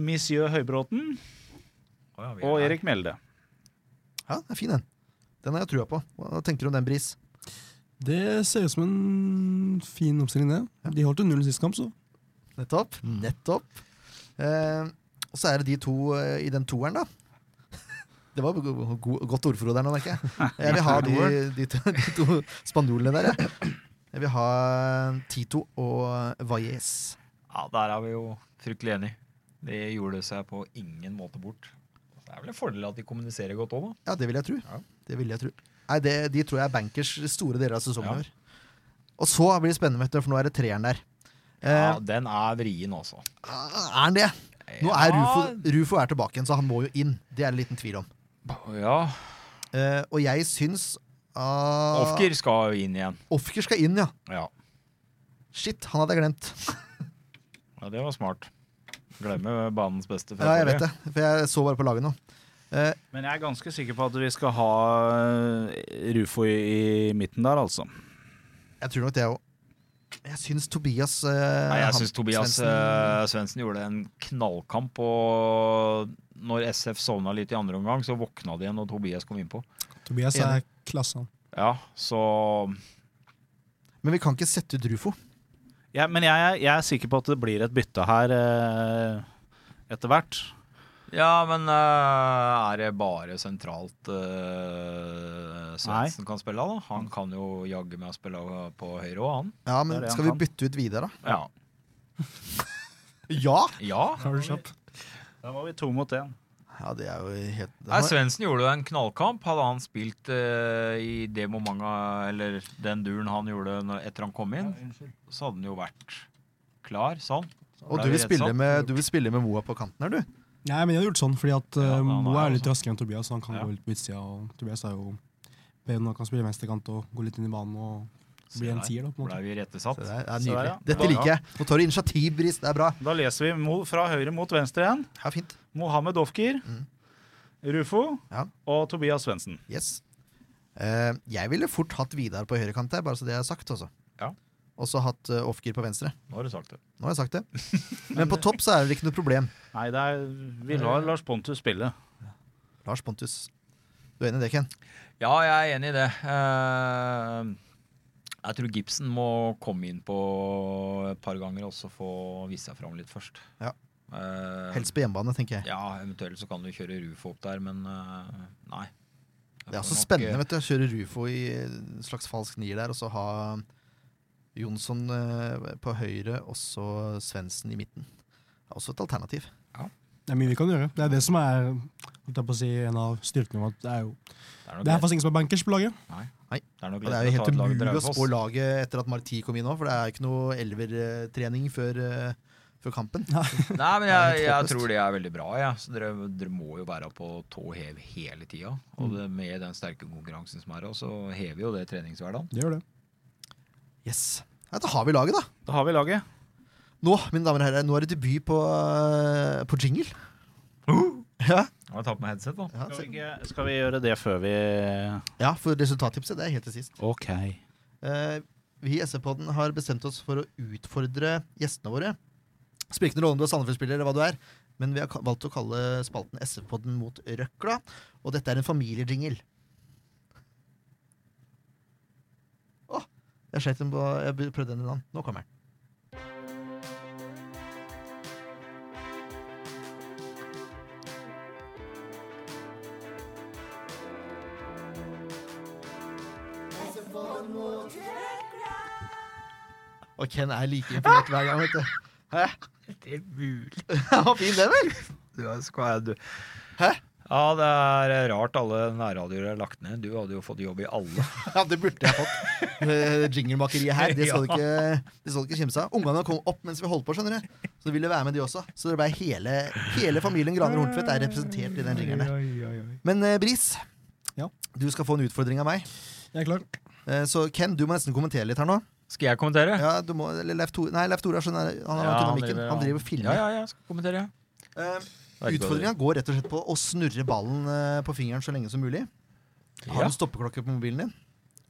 [SPEAKER 4] Monsieur Høybråten og Erik Mjelde.
[SPEAKER 3] Ja, det er fin den. Den har jeg trua på. Hva tenker du om den, Bris?
[SPEAKER 5] Det ser ut som en fin oppstilling, det. De holdt jo nullen sist kamp, så.
[SPEAKER 3] Nettopp. Nettopp. Eh, og så er det de to eh, i den toeren, da. Det var go go godt ordforråd der nå, merker jeg. Jeg vil ha de, de, to, de to spanjolene der, jeg. Jeg vil ha Tito og Valles.
[SPEAKER 6] Ja, der er vi jo fryktelig enige. Det gjorde seg på ingen måte bort. Det er vel en fordel at de kommuniserer godt òg, da.
[SPEAKER 3] Ja, det vil jeg tro. Det vil jeg tro. Nei, det, de tror jeg er bankers store deler av sesongen i år. Og så blir det spennende, vet du, for nå er det treeren der.
[SPEAKER 6] Ja,
[SPEAKER 3] Eh,
[SPEAKER 6] den er vrien, altså.
[SPEAKER 3] er han det? Nå er Rufo, Rufo er tilbake igjen, så han må jo inn. Det er det liten tvil om.
[SPEAKER 6] Ja,
[SPEAKER 3] Eh, og jeg syns ah,
[SPEAKER 6] Ofker skal jo inn igjen.
[SPEAKER 3] Ofker skal inn, ja.
[SPEAKER 6] Ja.
[SPEAKER 3] Shit, han hadde jeg glemt.
[SPEAKER 6] ja, det var smart. Glemme banens beste. fra
[SPEAKER 3] Ja, jeg vet
[SPEAKER 6] forrige.
[SPEAKER 3] det, for jeg så bare på laget nå. Eh,
[SPEAKER 4] Men jeg er ganske sikker på at vi skal ha eh, Rufo i, i midten der, altså.
[SPEAKER 3] jeg tror nok det òg. Jeg syns Tobias eh,
[SPEAKER 6] Nei, jeg
[SPEAKER 3] han-
[SPEAKER 6] syns Tobias
[SPEAKER 3] Svendsen-
[SPEAKER 6] eh, Svendsen gjorde en knallkamp. Og når SF sovna litt i andre omgang, så våkna de igjen når Tobias kom innpå.
[SPEAKER 5] Tobias er klasse, han.
[SPEAKER 6] Ja, så
[SPEAKER 3] Men vi kan ikke sette ut Rufo.
[SPEAKER 4] Ja, men jeg, er- jeg er sikker på at det blir et bytte her eh, etter hvert.
[SPEAKER 6] Ja, men eh, er det bare sentralt uh, Svendsen kan spille, da? Han
[SPEAKER 3] Mm.
[SPEAKER 6] kan jo jaggu meg å spille eh, på høyre òg, han.
[SPEAKER 3] Ja,
[SPEAKER 4] Det er
[SPEAKER 3] men
[SPEAKER 4] det han
[SPEAKER 3] skal vi
[SPEAKER 4] kan.
[SPEAKER 3] bytte ut Vidar, da?
[SPEAKER 6] Ja.
[SPEAKER 3] Ja!
[SPEAKER 6] ja.
[SPEAKER 5] Er du kjapp?
[SPEAKER 4] Da var vi to mot én.
[SPEAKER 3] Ja, det er jo helt det
[SPEAKER 6] Nei,
[SPEAKER 3] var-
[SPEAKER 6] Svendsen gjorde jo en knallkamp. Hadde han spilt eh, i det momentet, eller den duren han gjorde når, etter han kom inn, så hadde han jo vært klar, sånn.
[SPEAKER 3] Og du vil, spille med, du vil spille med Moa på kanten her, du?
[SPEAKER 5] Nei, men jeg hadde gjort sånn, fordi at
[SPEAKER 6] Ja,
[SPEAKER 5] eh,
[SPEAKER 6] men han
[SPEAKER 5] Moe
[SPEAKER 6] er
[SPEAKER 5] er
[SPEAKER 6] jo sånn.
[SPEAKER 5] litt raskere enn Tobias, så han kan
[SPEAKER 6] Ja.
[SPEAKER 5] gå litt på utsida. Og Tobias er jo bedre når han kan spille venstrekant og gå litt inn i banen og bli en tier, da. på en måte.
[SPEAKER 6] Blei vi rettesatt.
[SPEAKER 3] Det er, det er
[SPEAKER 4] Så der,
[SPEAKER 3] nydelig.
[SPEAKER 4] ja.
[SPEAKER 3] Dette
[SPEAKER 4] Ja, ja.
[SPEAKER 3] liker jeg. Nå tar du initiativ, Bris. Det er bra.
[SPEAKER 4] Da leser vi mo fra høyre mot venstre igjen.
[SPEAKER 3] Ja, fint.
[SPEAKER 4] Mohammed Ofkir, Rufo
[SPEAKER 3] Mm. Ja.
[SPEAKER 4] og Tobias Svendsen.
[SPEAKER 3] Yes. Eh, jeg ville fort hatt Vidar på høyrekant der, bare så det er sagt, altså.
[SPEAKER 6] Ja.
[SPEAKER 3] Og så hatt uh, off-gear på venstre.
[SPEAKER 6] Nå har du sagt det.
[SPEAKER 3] Nå har jeg sagt det. Men på topp så er det ikke noe problem.
[SPEAKER 4] Nei, det er, vi lar Lars Pontus spille.
[SPEAKER 3] Lars Pontus. Du er enig i det, Ken?
[SPEAKER 6] Ja, jeg er enig i det. Eh, jeg tror Gibson må komme inn på et par ganger og også få vise seg fram litt først.
[SPEAKER 3] Ja.
[SPEAKER 6] Eh,
[SPEAKER 3] Helst på hjemmebane, tenker jeg.
[SPEAKER 6] Ja, eventuelt så kan du kjøre Rufo opp der, men eh, nei.
[SPEAKER 3] Det er også
[SPEAKER 6] eh,
[SPEAKER 3] spennende vet du, å kjøre Rufo i en slags falsk nier der, og så ha Jonsson eh, på høyre og så Svendsen i midten. Det er også et alternativ.
[SPEAKER 5] Det er mye vi kan gjøre. Det er det som er holdt jeg på å si, en av styrkene. våre, at Det er jo
[SPEAKER 6] nok
[SPEAKER 5] Det er faktisk ingen som er bankers på laget.
[SPEAKER 6] Det er nok
[SPEAKER 3] Og det er jo helt umulig å spå laget etter at Marti kom inn nå, for det er ikke noe elvertrening før, eh, før kampen.
[SPEAKER 6] Nei, men
[SPEAKER 3] er
[SPEAKER 6] jeg,
[SPEAKER 3] helt
[SPEAKER 6] jeg
[SPEAKER 3] håpløst.
[SPEAKER 6] tror det er veldig bra. Ja. Så dere, dere må jo være på tå hev hele tida.
[SPEAKER 3] Mm.
[SPEAKER 6] Og det, med den sterke konkurransen som er òg, så hever jo det treningshverdagen.
[SPEAKER 5] Det gjør det.
[SPEAKER 3] Yes. Ja, da har vi laget, da.
[SPEAKER 4] Da har vi laget.
[SPEAKER 3] Nå, mine damer og herrer, nå er det debut på, eh, på jingle. Ja,
[SPEAKER 6] Må jeg ta på meg headset, da?
[SPEAKER 3] ja,
[SPEAKER 4] Skal
[SPEAKER 3] så,
[SPEAKER 4] vi, ikke- skal vi gjøre det før vi
[SPEAKER 3] ja, for resultattipset det er helt til sist.
[SPEAKER 4] OK.
[SPEAKER 3] Eh, vi i SV-podden har bestemt oss for å utfordre gjestene våre. Spiller ikke noen rolle om du er Sandefjord-spiller eller hva du er, men vi har ka- valgt å kalle spalten SV-podden mot røkla. Og dette er en familiejingle. Å! Jeg slet den på Jeg bu- prøvde den i land. Nå kommer den. Og Ken er like imponert hver gang, vet du.
[SPEAKER 6] Det er mulig.
[SPEAKER 3] Den var fin, den, vel?
[SPEAKER 6] Du altså, er skvær, du.
[SPEAKER 3] Hæ?
[SPEAKER 6] Ja, det er rart alle nærradioer er lagt ned. Du hadde jo fått jobb i alle.
[SPEAKER 3] Ja, det burde jeg fått. Det Jinglemakeriet her, det skal du ikke, det skal du ikke kimse av. Ungene kom opp mens vi holdt på, skjønner du. Så ville være med de også. Så det ble hele, hele familien Graner Horntvedt er representert i den jingelen der. Men eh, Bris,
[SPEAKER 5] Ja.
[SPEAKER 3] du skal få en utfordring av meg.
[SPEAKER 5] Jeg er klar.
[SPEAKER 3] Eh, så Ken, du må nesten kommentere litt her nå.
[SPEAKER 6] Skal jeg kommentere?
[SPEAKER 3] Ja, du må, eller Leif Tore, nei, Leif Tore er sånn der- han har
[SPEAKER 4] Ja, han
[SPEAKER 3] dynamikken.
[SPEAKER 4] driver-
[SPEAKER 3] Han driver og filmer.
[SPEAKER 6] Ja, ja, ja, skal kommentere. ja.
[SPEAKER 3] Eh,
[SPEAKER 6] Det er ikke
[SPEAKER 3] Utfordringa går rett og slett på å snurre ballen eh, på fingeren så lenge som mulig. Har
[SPEAKER 6] Ja.
[SPEAKER 3] du stoppeklokke på mobilen din?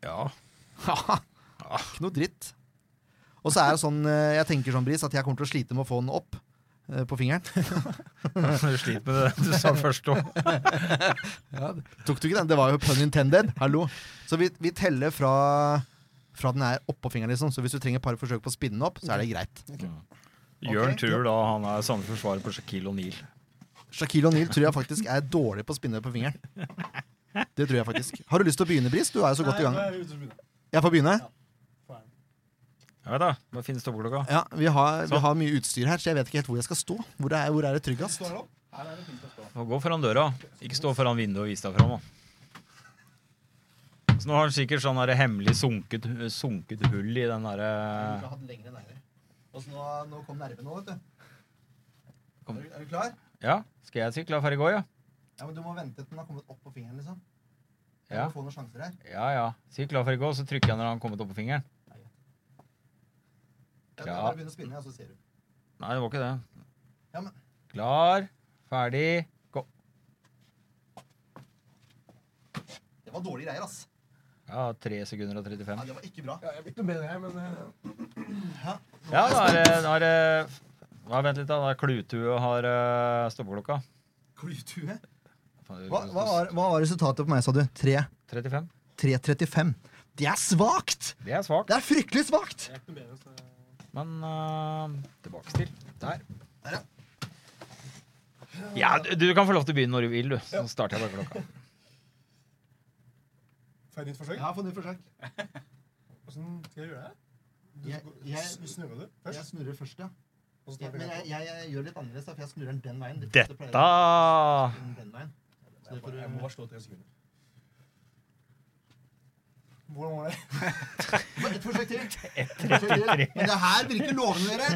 [SPEAKER 6] Ja.
[SPEAKER 3] Haha. Ikke noe dritt. Og så er det sånn, eh, jeg tenker sånn, Bris, at jeg kommer til å slite med å få den opp eh, på fingeren.
[SPEAKER 6] Du sliter med det du sa først òg.
[SPEAKER 3] Tok du ikke den? Det var jo pun intended. Hallo. Så vi, vi teller fra, fra den er oppå fingeren, liksom. Så hvis du trenger et par forsøk på å spinne den opp, så er det greit.
[SPEAKER 2] Jørn
[SPEAKER 3] Ok.
[SPEAKER 2] tror da han er samme forsvarer på Shaquille O'Neal.
[SPEAKER 3] Shaquille O'Neal tror jeg faktisk er dårlig på å spinne på fingeren. Det tror jeg faktisk. Har du lyst til å begynne, Bris? Du er jo så godt i gang. Jeg får begynne?
[SPEAKER 6] Jeg vet da, Hva finnes stoppeklokka?
[SPEAKER 3] Ja, vi har, vi har mye utstyr her, så jeg vet ikke helt hvor jeg skal stå. Hvor er, hvor er det tryggest?
[SPEAKER 6] Nå Gå foran døra. Ikke stå foran vinduet og vis deg fram. Da. Så nå har han sikkert sånn der hemmelig sunket, sunket hull i den eh, derre
[SPEAKER 3] Og så nå, nå kom nerven nå, vet du.
[SPEAKER 6] Kom.
[SPEAKER 3] Er, du. er du klar?
[SPEAKER 6] Ja, skal jeg sykle for i går, ja?
[SPEAKER 3] Ja, men Du må vente til den har kommet opp på fingeren. liksom. Jeg
[SPEAKER 6] Ja,
[SPEAKER 3] må få noen sjanser her.
[SPEAKER 6] ja. ja. Si klar for i går, så trykker jeg når han har kommet opp på fingeren.
[SPEAKER 3] Jeg
[SPEAKER 6] Ja.
[SPEAKER 3] bare begynner å spinne, ja, så ser du.
[SPEAKER 6] Nei, det var ikke det.
[SPEAKER 3] Ja, men-
[SPEAKER 6] Klar, ferdig, gå.
[SPEAKER 3] Det var dårlige greier, ass.
[SPEAKER 6] Ja, 3 sekunder og 35.
[SPEAKER 3] Ja, det var ikke bra.
[SPEAKER 5] Jeg er blitt noe bedre her, men eh,
[SPEAKER 6] Ja, da er det da er det ja, Vent litt, da. da er Klutue har eh, stoppeklokka.
[SPEAKER 3] Klutue. Hva, hva, var, hva var resultatet på meg, sa du? Tre-
[SPEAKER 6] 35.
[SPEAKER 3] 3.35. Det er svakt!
[SPEAKER 6] Det er svakt,
[SPEAKER 3] Det er fryktelig svakt!
[SPEAKER 6] men eh, tilbake til.
[SPEAKER 3] Der. Der,
[SPEAKER 6] Ja, du, du kan få lov til å begynne når du vil, du. Så starter jeg bare klokka.
[SPEAKER 5] Får jeg nytt forsøk?
[SPEAKER 3] Jeg har fått nytt forsøk.
[SPEAKER 5] Hvordan skal jeg gjøre det?
[SPEAKER 3] Jeg- jeg-
[SPEAKER 5] snurrer du
[SPEAKER 3] Jeg snurrer først, ja.
[SPEAKER 5] og så
[SPEAKER 3] Ja,
[SPEAKER 5] tar vi
[SPEAKER 3] men jeg,
[SPEAKER 5] etterpå?
[SPEAKER 3] jeg, jeg gjør litt annerledes, da, for jeg snurrer den den veien. De fleste pleier å
[SPEAKER 6] Dette
[SPEAKER 3] snurre den den veien. Så det får du-
[SPEAKER 5] Jeg må bare slå tre sekunder. Hvordan var det?
[SPEAKER 3] Bare Et forsøk til. Et forsøk til. Men det her virker lovende, dere.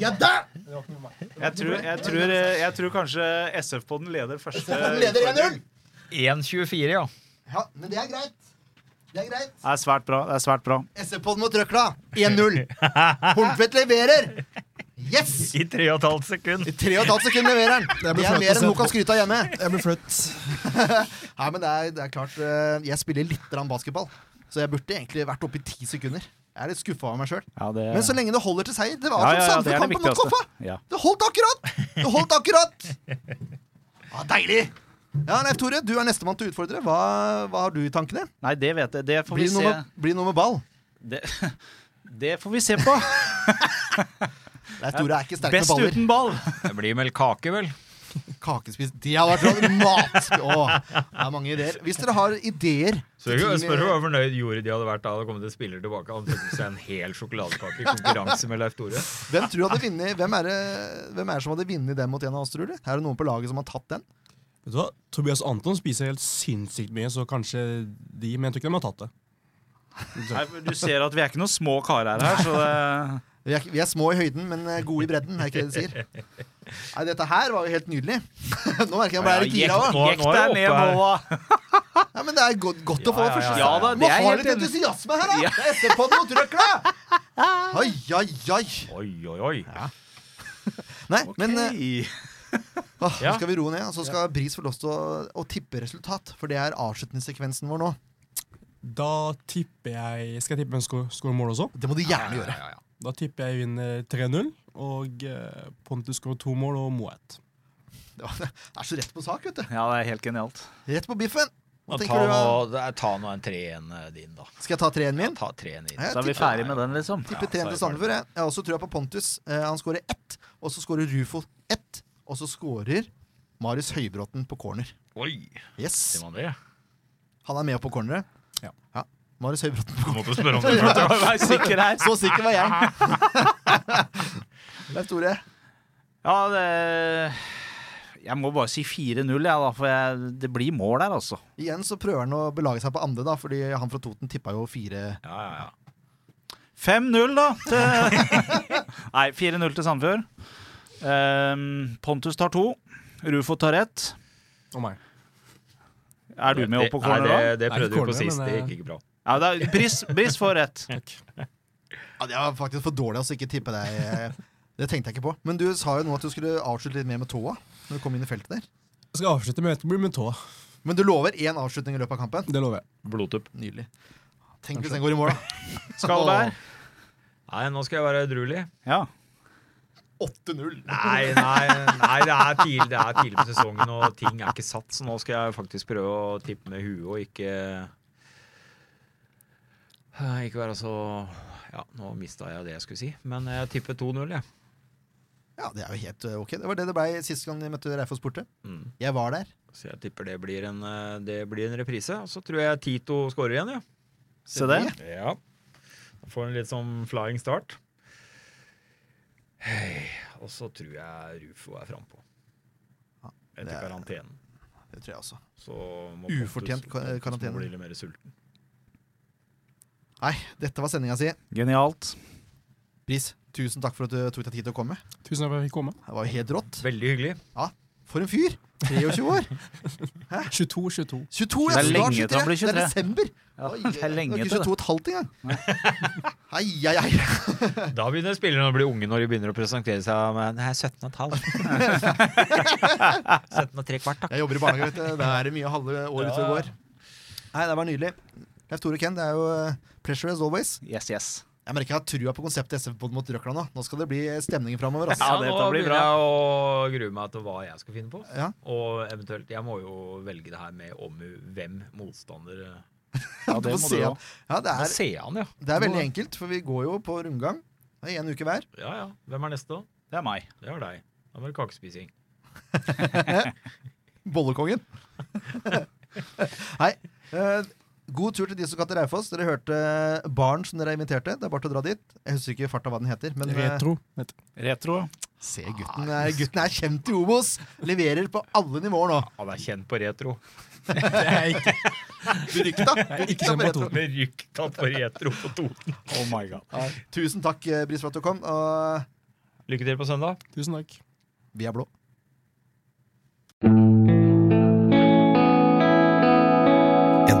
[SPEAKER 3] Ja da!
[SPEAKER 4] Jeg tror, jeg tror, jeg tror kanskje SF-podden leder første
[SPEAKER 3] Den leder 1-0.
[SPEAKER 6] 1,24, ja.
[SPEAKER 3] Ja, men det er greit. Det er greit.
[SPEAKER 4] Det er svært bra. det er svært bra.
[SPEAKER 3] SV-podden mot Røkla. 1-0. Hornfett leverer. Yes!
[SPEAKER 6] I 3,5 sekunder.
[SPEAKER 3] I 3,5 sekunder leverer han. Det er mer enn hun kan skryte av hjemme.
[SPEAKER 5] Jeg ble flaut.
[SPEAKER 3] Nei, men det er, det er klart, eh, jeg spiller litt grann basketball, så jeg burde egentlig vært oppe i 10 sekunder. Jeg er litt skuffa over meg sjøl.
[SPEAKER 4] Ja, det,
[SPEAKER 3] Men så lenge det holder til seier. Det var
[SPEAKER 4] ja, ja,
[SPEAKER 3] som
[SPEAKER 4] ja, det er det
[SPEAKER 3] Sandefjord-kampen mot
[SPEAKER 4] viktigste.
[SPEAKER 3] Koffa.
[SPEAKER 4] Ja.
[SPEAKER 3] Det holdt akkurat! Det holdt akkurat! Ja, deilig! Ja, Leif Tore, du er nestemann til å utfordre. Hva, hva har du i tankene?
[SPEAKER 4] Nei, det vet jeg. Det får vi
[SPEAKER 3] Blir det noe,
[SPEAKER 4] se.
[SPEAKER 3] med- blir det noe med ball?
[SPEAKER 4] Det, det får vi se på.
[SPEAKER 3] Leif Tore er ikke sterk med
[SPEAKER 4] Best
[SPEAKER 3] baller.
[SPEAKER 4] uten ball.
[SPEAKER 6] Det blir vel kake, vel?
[SPEAKER 3] Kakespis. De har vært sånn mat! Åh, det er mange ideer. Hvis dere har ideer
[SPEAKER 6] Så jeg kan
[SPEAKER 3] til
[SPEAKER 6] spørre
[SPEAKER 3] team-
[SPEAKER 6] hvor fornøyd Jordi hadde vært da det hadde kommet en spiller tilbake. Han tok seg en hel sjokoladekake i konkurranse med Leif Tore.
[SPEAKER 3] Hvem tror du hadde vunnet? Hvem er det hvem er det som hadde vunnet den mot en av oss, tror du? Er det noen på laget som har tatt den?
[SPEAKER 5] Vet du hva? Tobias Anton spiser helt sinnssykt mye, så kanskje de Men jeg tror ikke de har tatt det.
[SPEAKER 4] Nei, men du ser at vi er ikke noen små karer her, så det
[SPEAKER 3] Vi er, ikke- vi er små i høyden, men eh, gode i bredden, er ikke det de sier? Nei, dette her var jo helt nydelig. Nå merker jeg at jeg ble litt gira òg.
[SPEAKER 6] Nå- nå er jeg oppe her.
[SPEAKER 3] Ja, men det er godt, godt å få
[SPEAKER 6] Ja, ja, ja,
[SPEAKER 3] første
[SPEAKER 6] ja.
[SPEAKER 4] Ja da,
[SPEAKER 3] Du må
[SPEAKER 4] det er
[SPEAKER 3] ha
[SPEAKER 4] helt
[SPEAKER 3] litt
[SPEAKER 4] enig.
[SPEAKER 3] entusiasme her, da!
[SPEAKER 4] Ja.
[SPEAKER 3] Det er SF-podden og trøkla! Oi, oi, oi.
[SPEAKER 6] Oi, oi, oi.
[SPEAKER 3] Nei, men eh, åh,
[SPEAKER 6] Ja.
[SPEAKER 3] nå skal vi roe ned, og så skal Bris få lov til å, å tippe resultat. For det er avslutningssekvensen vår nå.
[SPEAKER 5] Da tipper jeg Skal jeg tippe hvem som skårer mål også?
[SPEAKER 3] Det må du gjerne gjøre.
[SPEAKER 5] Da tipper jeg vinner 3-0, og eh, Pontus skårer to mål og Moe ett.
[SPEAKER 3] Det var- det er så rett på sak, vet du.
[SPEAKER 4] Ja, det er helt genialt.
[SPEAKER 3] Rett på biffen. Hva
[SPEAKER 6] Ja,
[SPEAKER 3] tenker
[SPEAKER 6] Ta
[SPEAKER 3] du,
[SPEAKER 6] nå,
[SPEAKER 3] da?
[SPEAKER 6] det er- ta nå en 3-1 din, da.
[SPEAKER 3] Skal jeg ta treen min?
[SPEAKER 6] Ta 3-1 din.
[SPEAKER 3] Ja,
[SPEAKER 4] Så er vi
[SPEAKER 3] tipper-
[SPEAKER 4] ferdig med den, liksom.
[SPEAKER 3] Tipper treen til Sandefjord. Jeg Jeg har også trua på Pontus. Eh, han skårer ett, og så skårer Rufo ett. Og så skårer Marius Høybråten på corner.
[SPEAKER 6] Oi,
[SPEAKER 3] Yes.
[SPEAKER 6] sier man det?
[SPEAKER 3] Han er med på corneret.
[SPEAKER 5] Ja.
[SPEAKER 3] Marius Høybråten på corner.
[SPEAKER 2] Måtte spørre om
[SPEAKER 3] det først, ja.
[SPEAKER 4] Vær sikker her.
[SPEAKER 3] Så sikker var jeg. Leif Tore.
[SPEAKER 4] Ja, det Jeg må bare si 4-0, jeg, da. For jeg, det blir mål her, altså.
[SPEAKER 3] Igjen så prøver han å belage seg på andre, da, fordi han fra Toten tippa jo fire.
[SPEAKER 6] Ja, ja, ja.
[SPEAKER 4] 5-0, da. Til, nei, 4-0 til Sandefjord. Ehm, Pontus tar to. Rufo tar ett.
[SPEAKER 5] Og meg.
[SPEAKER 4] Er du med opp på corner,
[SPEAKER 2] Nei,
[SPEAKER 4] da?
[SPEAKER 2] det, det
[SPEAKER 5] Nei, ikke
[SPEAKER 2] prøvde vi
[SPEAKER 5] corner,
[SPEAKER 2] på sist.
[SPEAKER 5] men,
[SPEAKER 2] Det
[SPEAKER 5] eh,
[SPEAKER 2] gikk ikke bra.
[SPEAKER 4] Ja, det er, Briss, Briss får ett.
[SPEAKER 3] Ja, Det var faktisk for dårlig å ikke tippe deg. Det tenkte jeg ikke på. Men du sa jo nå at du skulle avslutte litt mer med tåa. Når du kom inn i feltet der
[SPEAKER 5] Jeg skal avslutte med Etterbury med tåa.
[SPEAKER 3] Men du lover én avslutning i løpet av kampen?
[SPEAKER 5] Det lover jeg.
[SPEAKER 2] Blodtupp.
[SPEAKER 3] Nydelig. Tenk hvis den går i mål, da.
[SPEAKER 4] Skalberg.
[SPEAKER 6] Nei, nå skal jeg være edruelig.
[SPEAKER 4] Ja.
[SPEAKER 3] 8-0.
[SPEAKER 6] Nei, nei, nei det, er tidlig, det er tidlig på sesongen, og ting er ikke satt. Så nå skal jeg faktisk prøve å tippe med huet og ikke eh, Ikke være så Ja, nå mista jeg det jeg skulle si, men jeg tipper 2-0, jeg.
[SPEAKER 3] Ja, det er jo helt eh, ok. Det var det det blei sist gang jeg møtte Reifoss borte.
[SPEAKER 6] Mm.
[SPEAKER 3] Jeg var der.
[SPEAKER 6] Så jeg tipper det blir en, eh, det blir en reprise. Og så tror jeg Tito skårer igjen, ja.
[SPEAKER 4] Se det.
[SPEAKER 6] Ja. Da får han litt sånn flying start. Hei, Og så tror jeg Rufo er frampå.
[SPEAKER 3] det
[SPEAKER 6] Etter
[SPEAKER 3] er-
[SPEAKER 6] karantenen.
[SPEAKER 3] Det tror jeg også.
[SPEAKER 6] Så må
[SPEAKER 3] Ufortjent ka-
[SPEAKER 6] Pontus- Pontus må
[SPEAKER 3] karantene.
[SPEAKER 6] bli litt mer sulten.
[SPEAKER 3] Nei, dette var sendinga si.
[SPEAKER 4] Genialt.
[SPEAKER 3] Bris, tusen takk for at du tok deg tid til å komme.
[SPEAKER 5] Tusen takk for at jeg fikk komme.
[SPEAKER 3] Det var jo helt rått.
[SPEAKER 6] Veldig hyggelig.
[SPEAKER 3] For en fyr! 23 år.
[SPEAKER 5] 22,
[SPEAKER 3] 22, ja.
[SPEAKER 5] 22.
[SPEAKER 4] Det er
[SPEAKER 3] snart
[SPEAKER 4] lenge til han
[SPEAKER 3] 23. Det
[SPEAKER 4] blir
[SPEAKER 3] er
[SPEAKER 4] 23.
[SPEAKER 3] desember.
[SPEAKER 4] Ja,
[SPEAKER 3] Oi,
[SPEAKER 4] det er lenge
[SPEAKER 3] ikke
[SPEAKER 4] til det.
[SPEAKER 3] 22 og et halvt engang. Hei, hei, hei.
[SPEAKER 6] Da begynner spillerne å bli unge når de begynner å presentere seg med Nei, 17 og et halvt. 17 og tre kvart, da.
[SPEAKER 3] Jeg jobber i barnehage, vet du. Da er det mye halve år utover går. Nei, det var nydelig. Leif Tore Ken, det er jo eh, pressure as always.
[SPEAKER 4] Yes, yes.
[SPEAKER 3] Jeg merker jeg har trua på konseptet SF-pod mot Røkla nå. Nå skal det bli stemninger framover. Altså.
[SPEAKER 4] Ja, dette
[SPEAKER 6] nå
[SPEAKER 4] blir
[SPEAKER 6] begynner
[SPEAKER 4] bra.
[SPEAKER 6] jeg å grue meg til hva jeg skal finne på.
[SPEAKER 3] Ja.
[SPEAKER 6] Og eventuelt Jeg må jo velge det her med omhu hvem motstander eh,
[SPEAKER 4] Ja,
[SPEAKER 3] Du
[SPEAKER 4] det
[SPEAKER 3] får
[SPEAKER 4] må
[SPEAKER 3] se
[SPEAKER 4] du
[SPEAKER 3] han.
[SPEAKER 4] ha.
[SPEAKER 3] Ja, det
[SPEAKER 6] Må
[SPEAKER 3] er,
[SPEAKER 6] se han, ja.
[SPEAKER 3] det er veldig enkelt, for vi går jo på rundgang. Det er én uke hver.
[SPEAKER 6] Ja, ja. Hvem er neste, da?
[SPEAKER 4] Det er meg.
[SPEAKER 6] Det er deg. Da blir det kakespising.
[SPEAKER 3] Bollekongen. Nei. eh, god tur til de som skal til Raufoss. Dere hørte Barn som dere inviterte. Det er bare til å dra dit. Jeg husker ikke farta hva den heter. Men eh,
[SPEAKER 5] Retro. heter det.
[SPEAKER 4] Retro.
[SPEAKER 3] se, gutten
[SPEAKER 5] Ah,
[SPEAKER 3] er, gutten er kjent i Obos! Leverer på alle nivåer nå.
[SPEAKER 6] Han er kjent på retro.
[SPEAKER 3] Berykta.
[SPEAKER 5] Ikke kjent på Toten.
[SPEAKER 6] Med rykktatt på retro på Toten.
[SPEAKER 4] Oh my god.
[SPEAKER 3] Tusen takk, eh, Bris, for at du kom. Og
[SPEAKER 6] Lykke til på søndag.
[SPEAKER 5] Tusen takk.
[SPEAKER 3] vi er blå.
[SPEAKER 1] En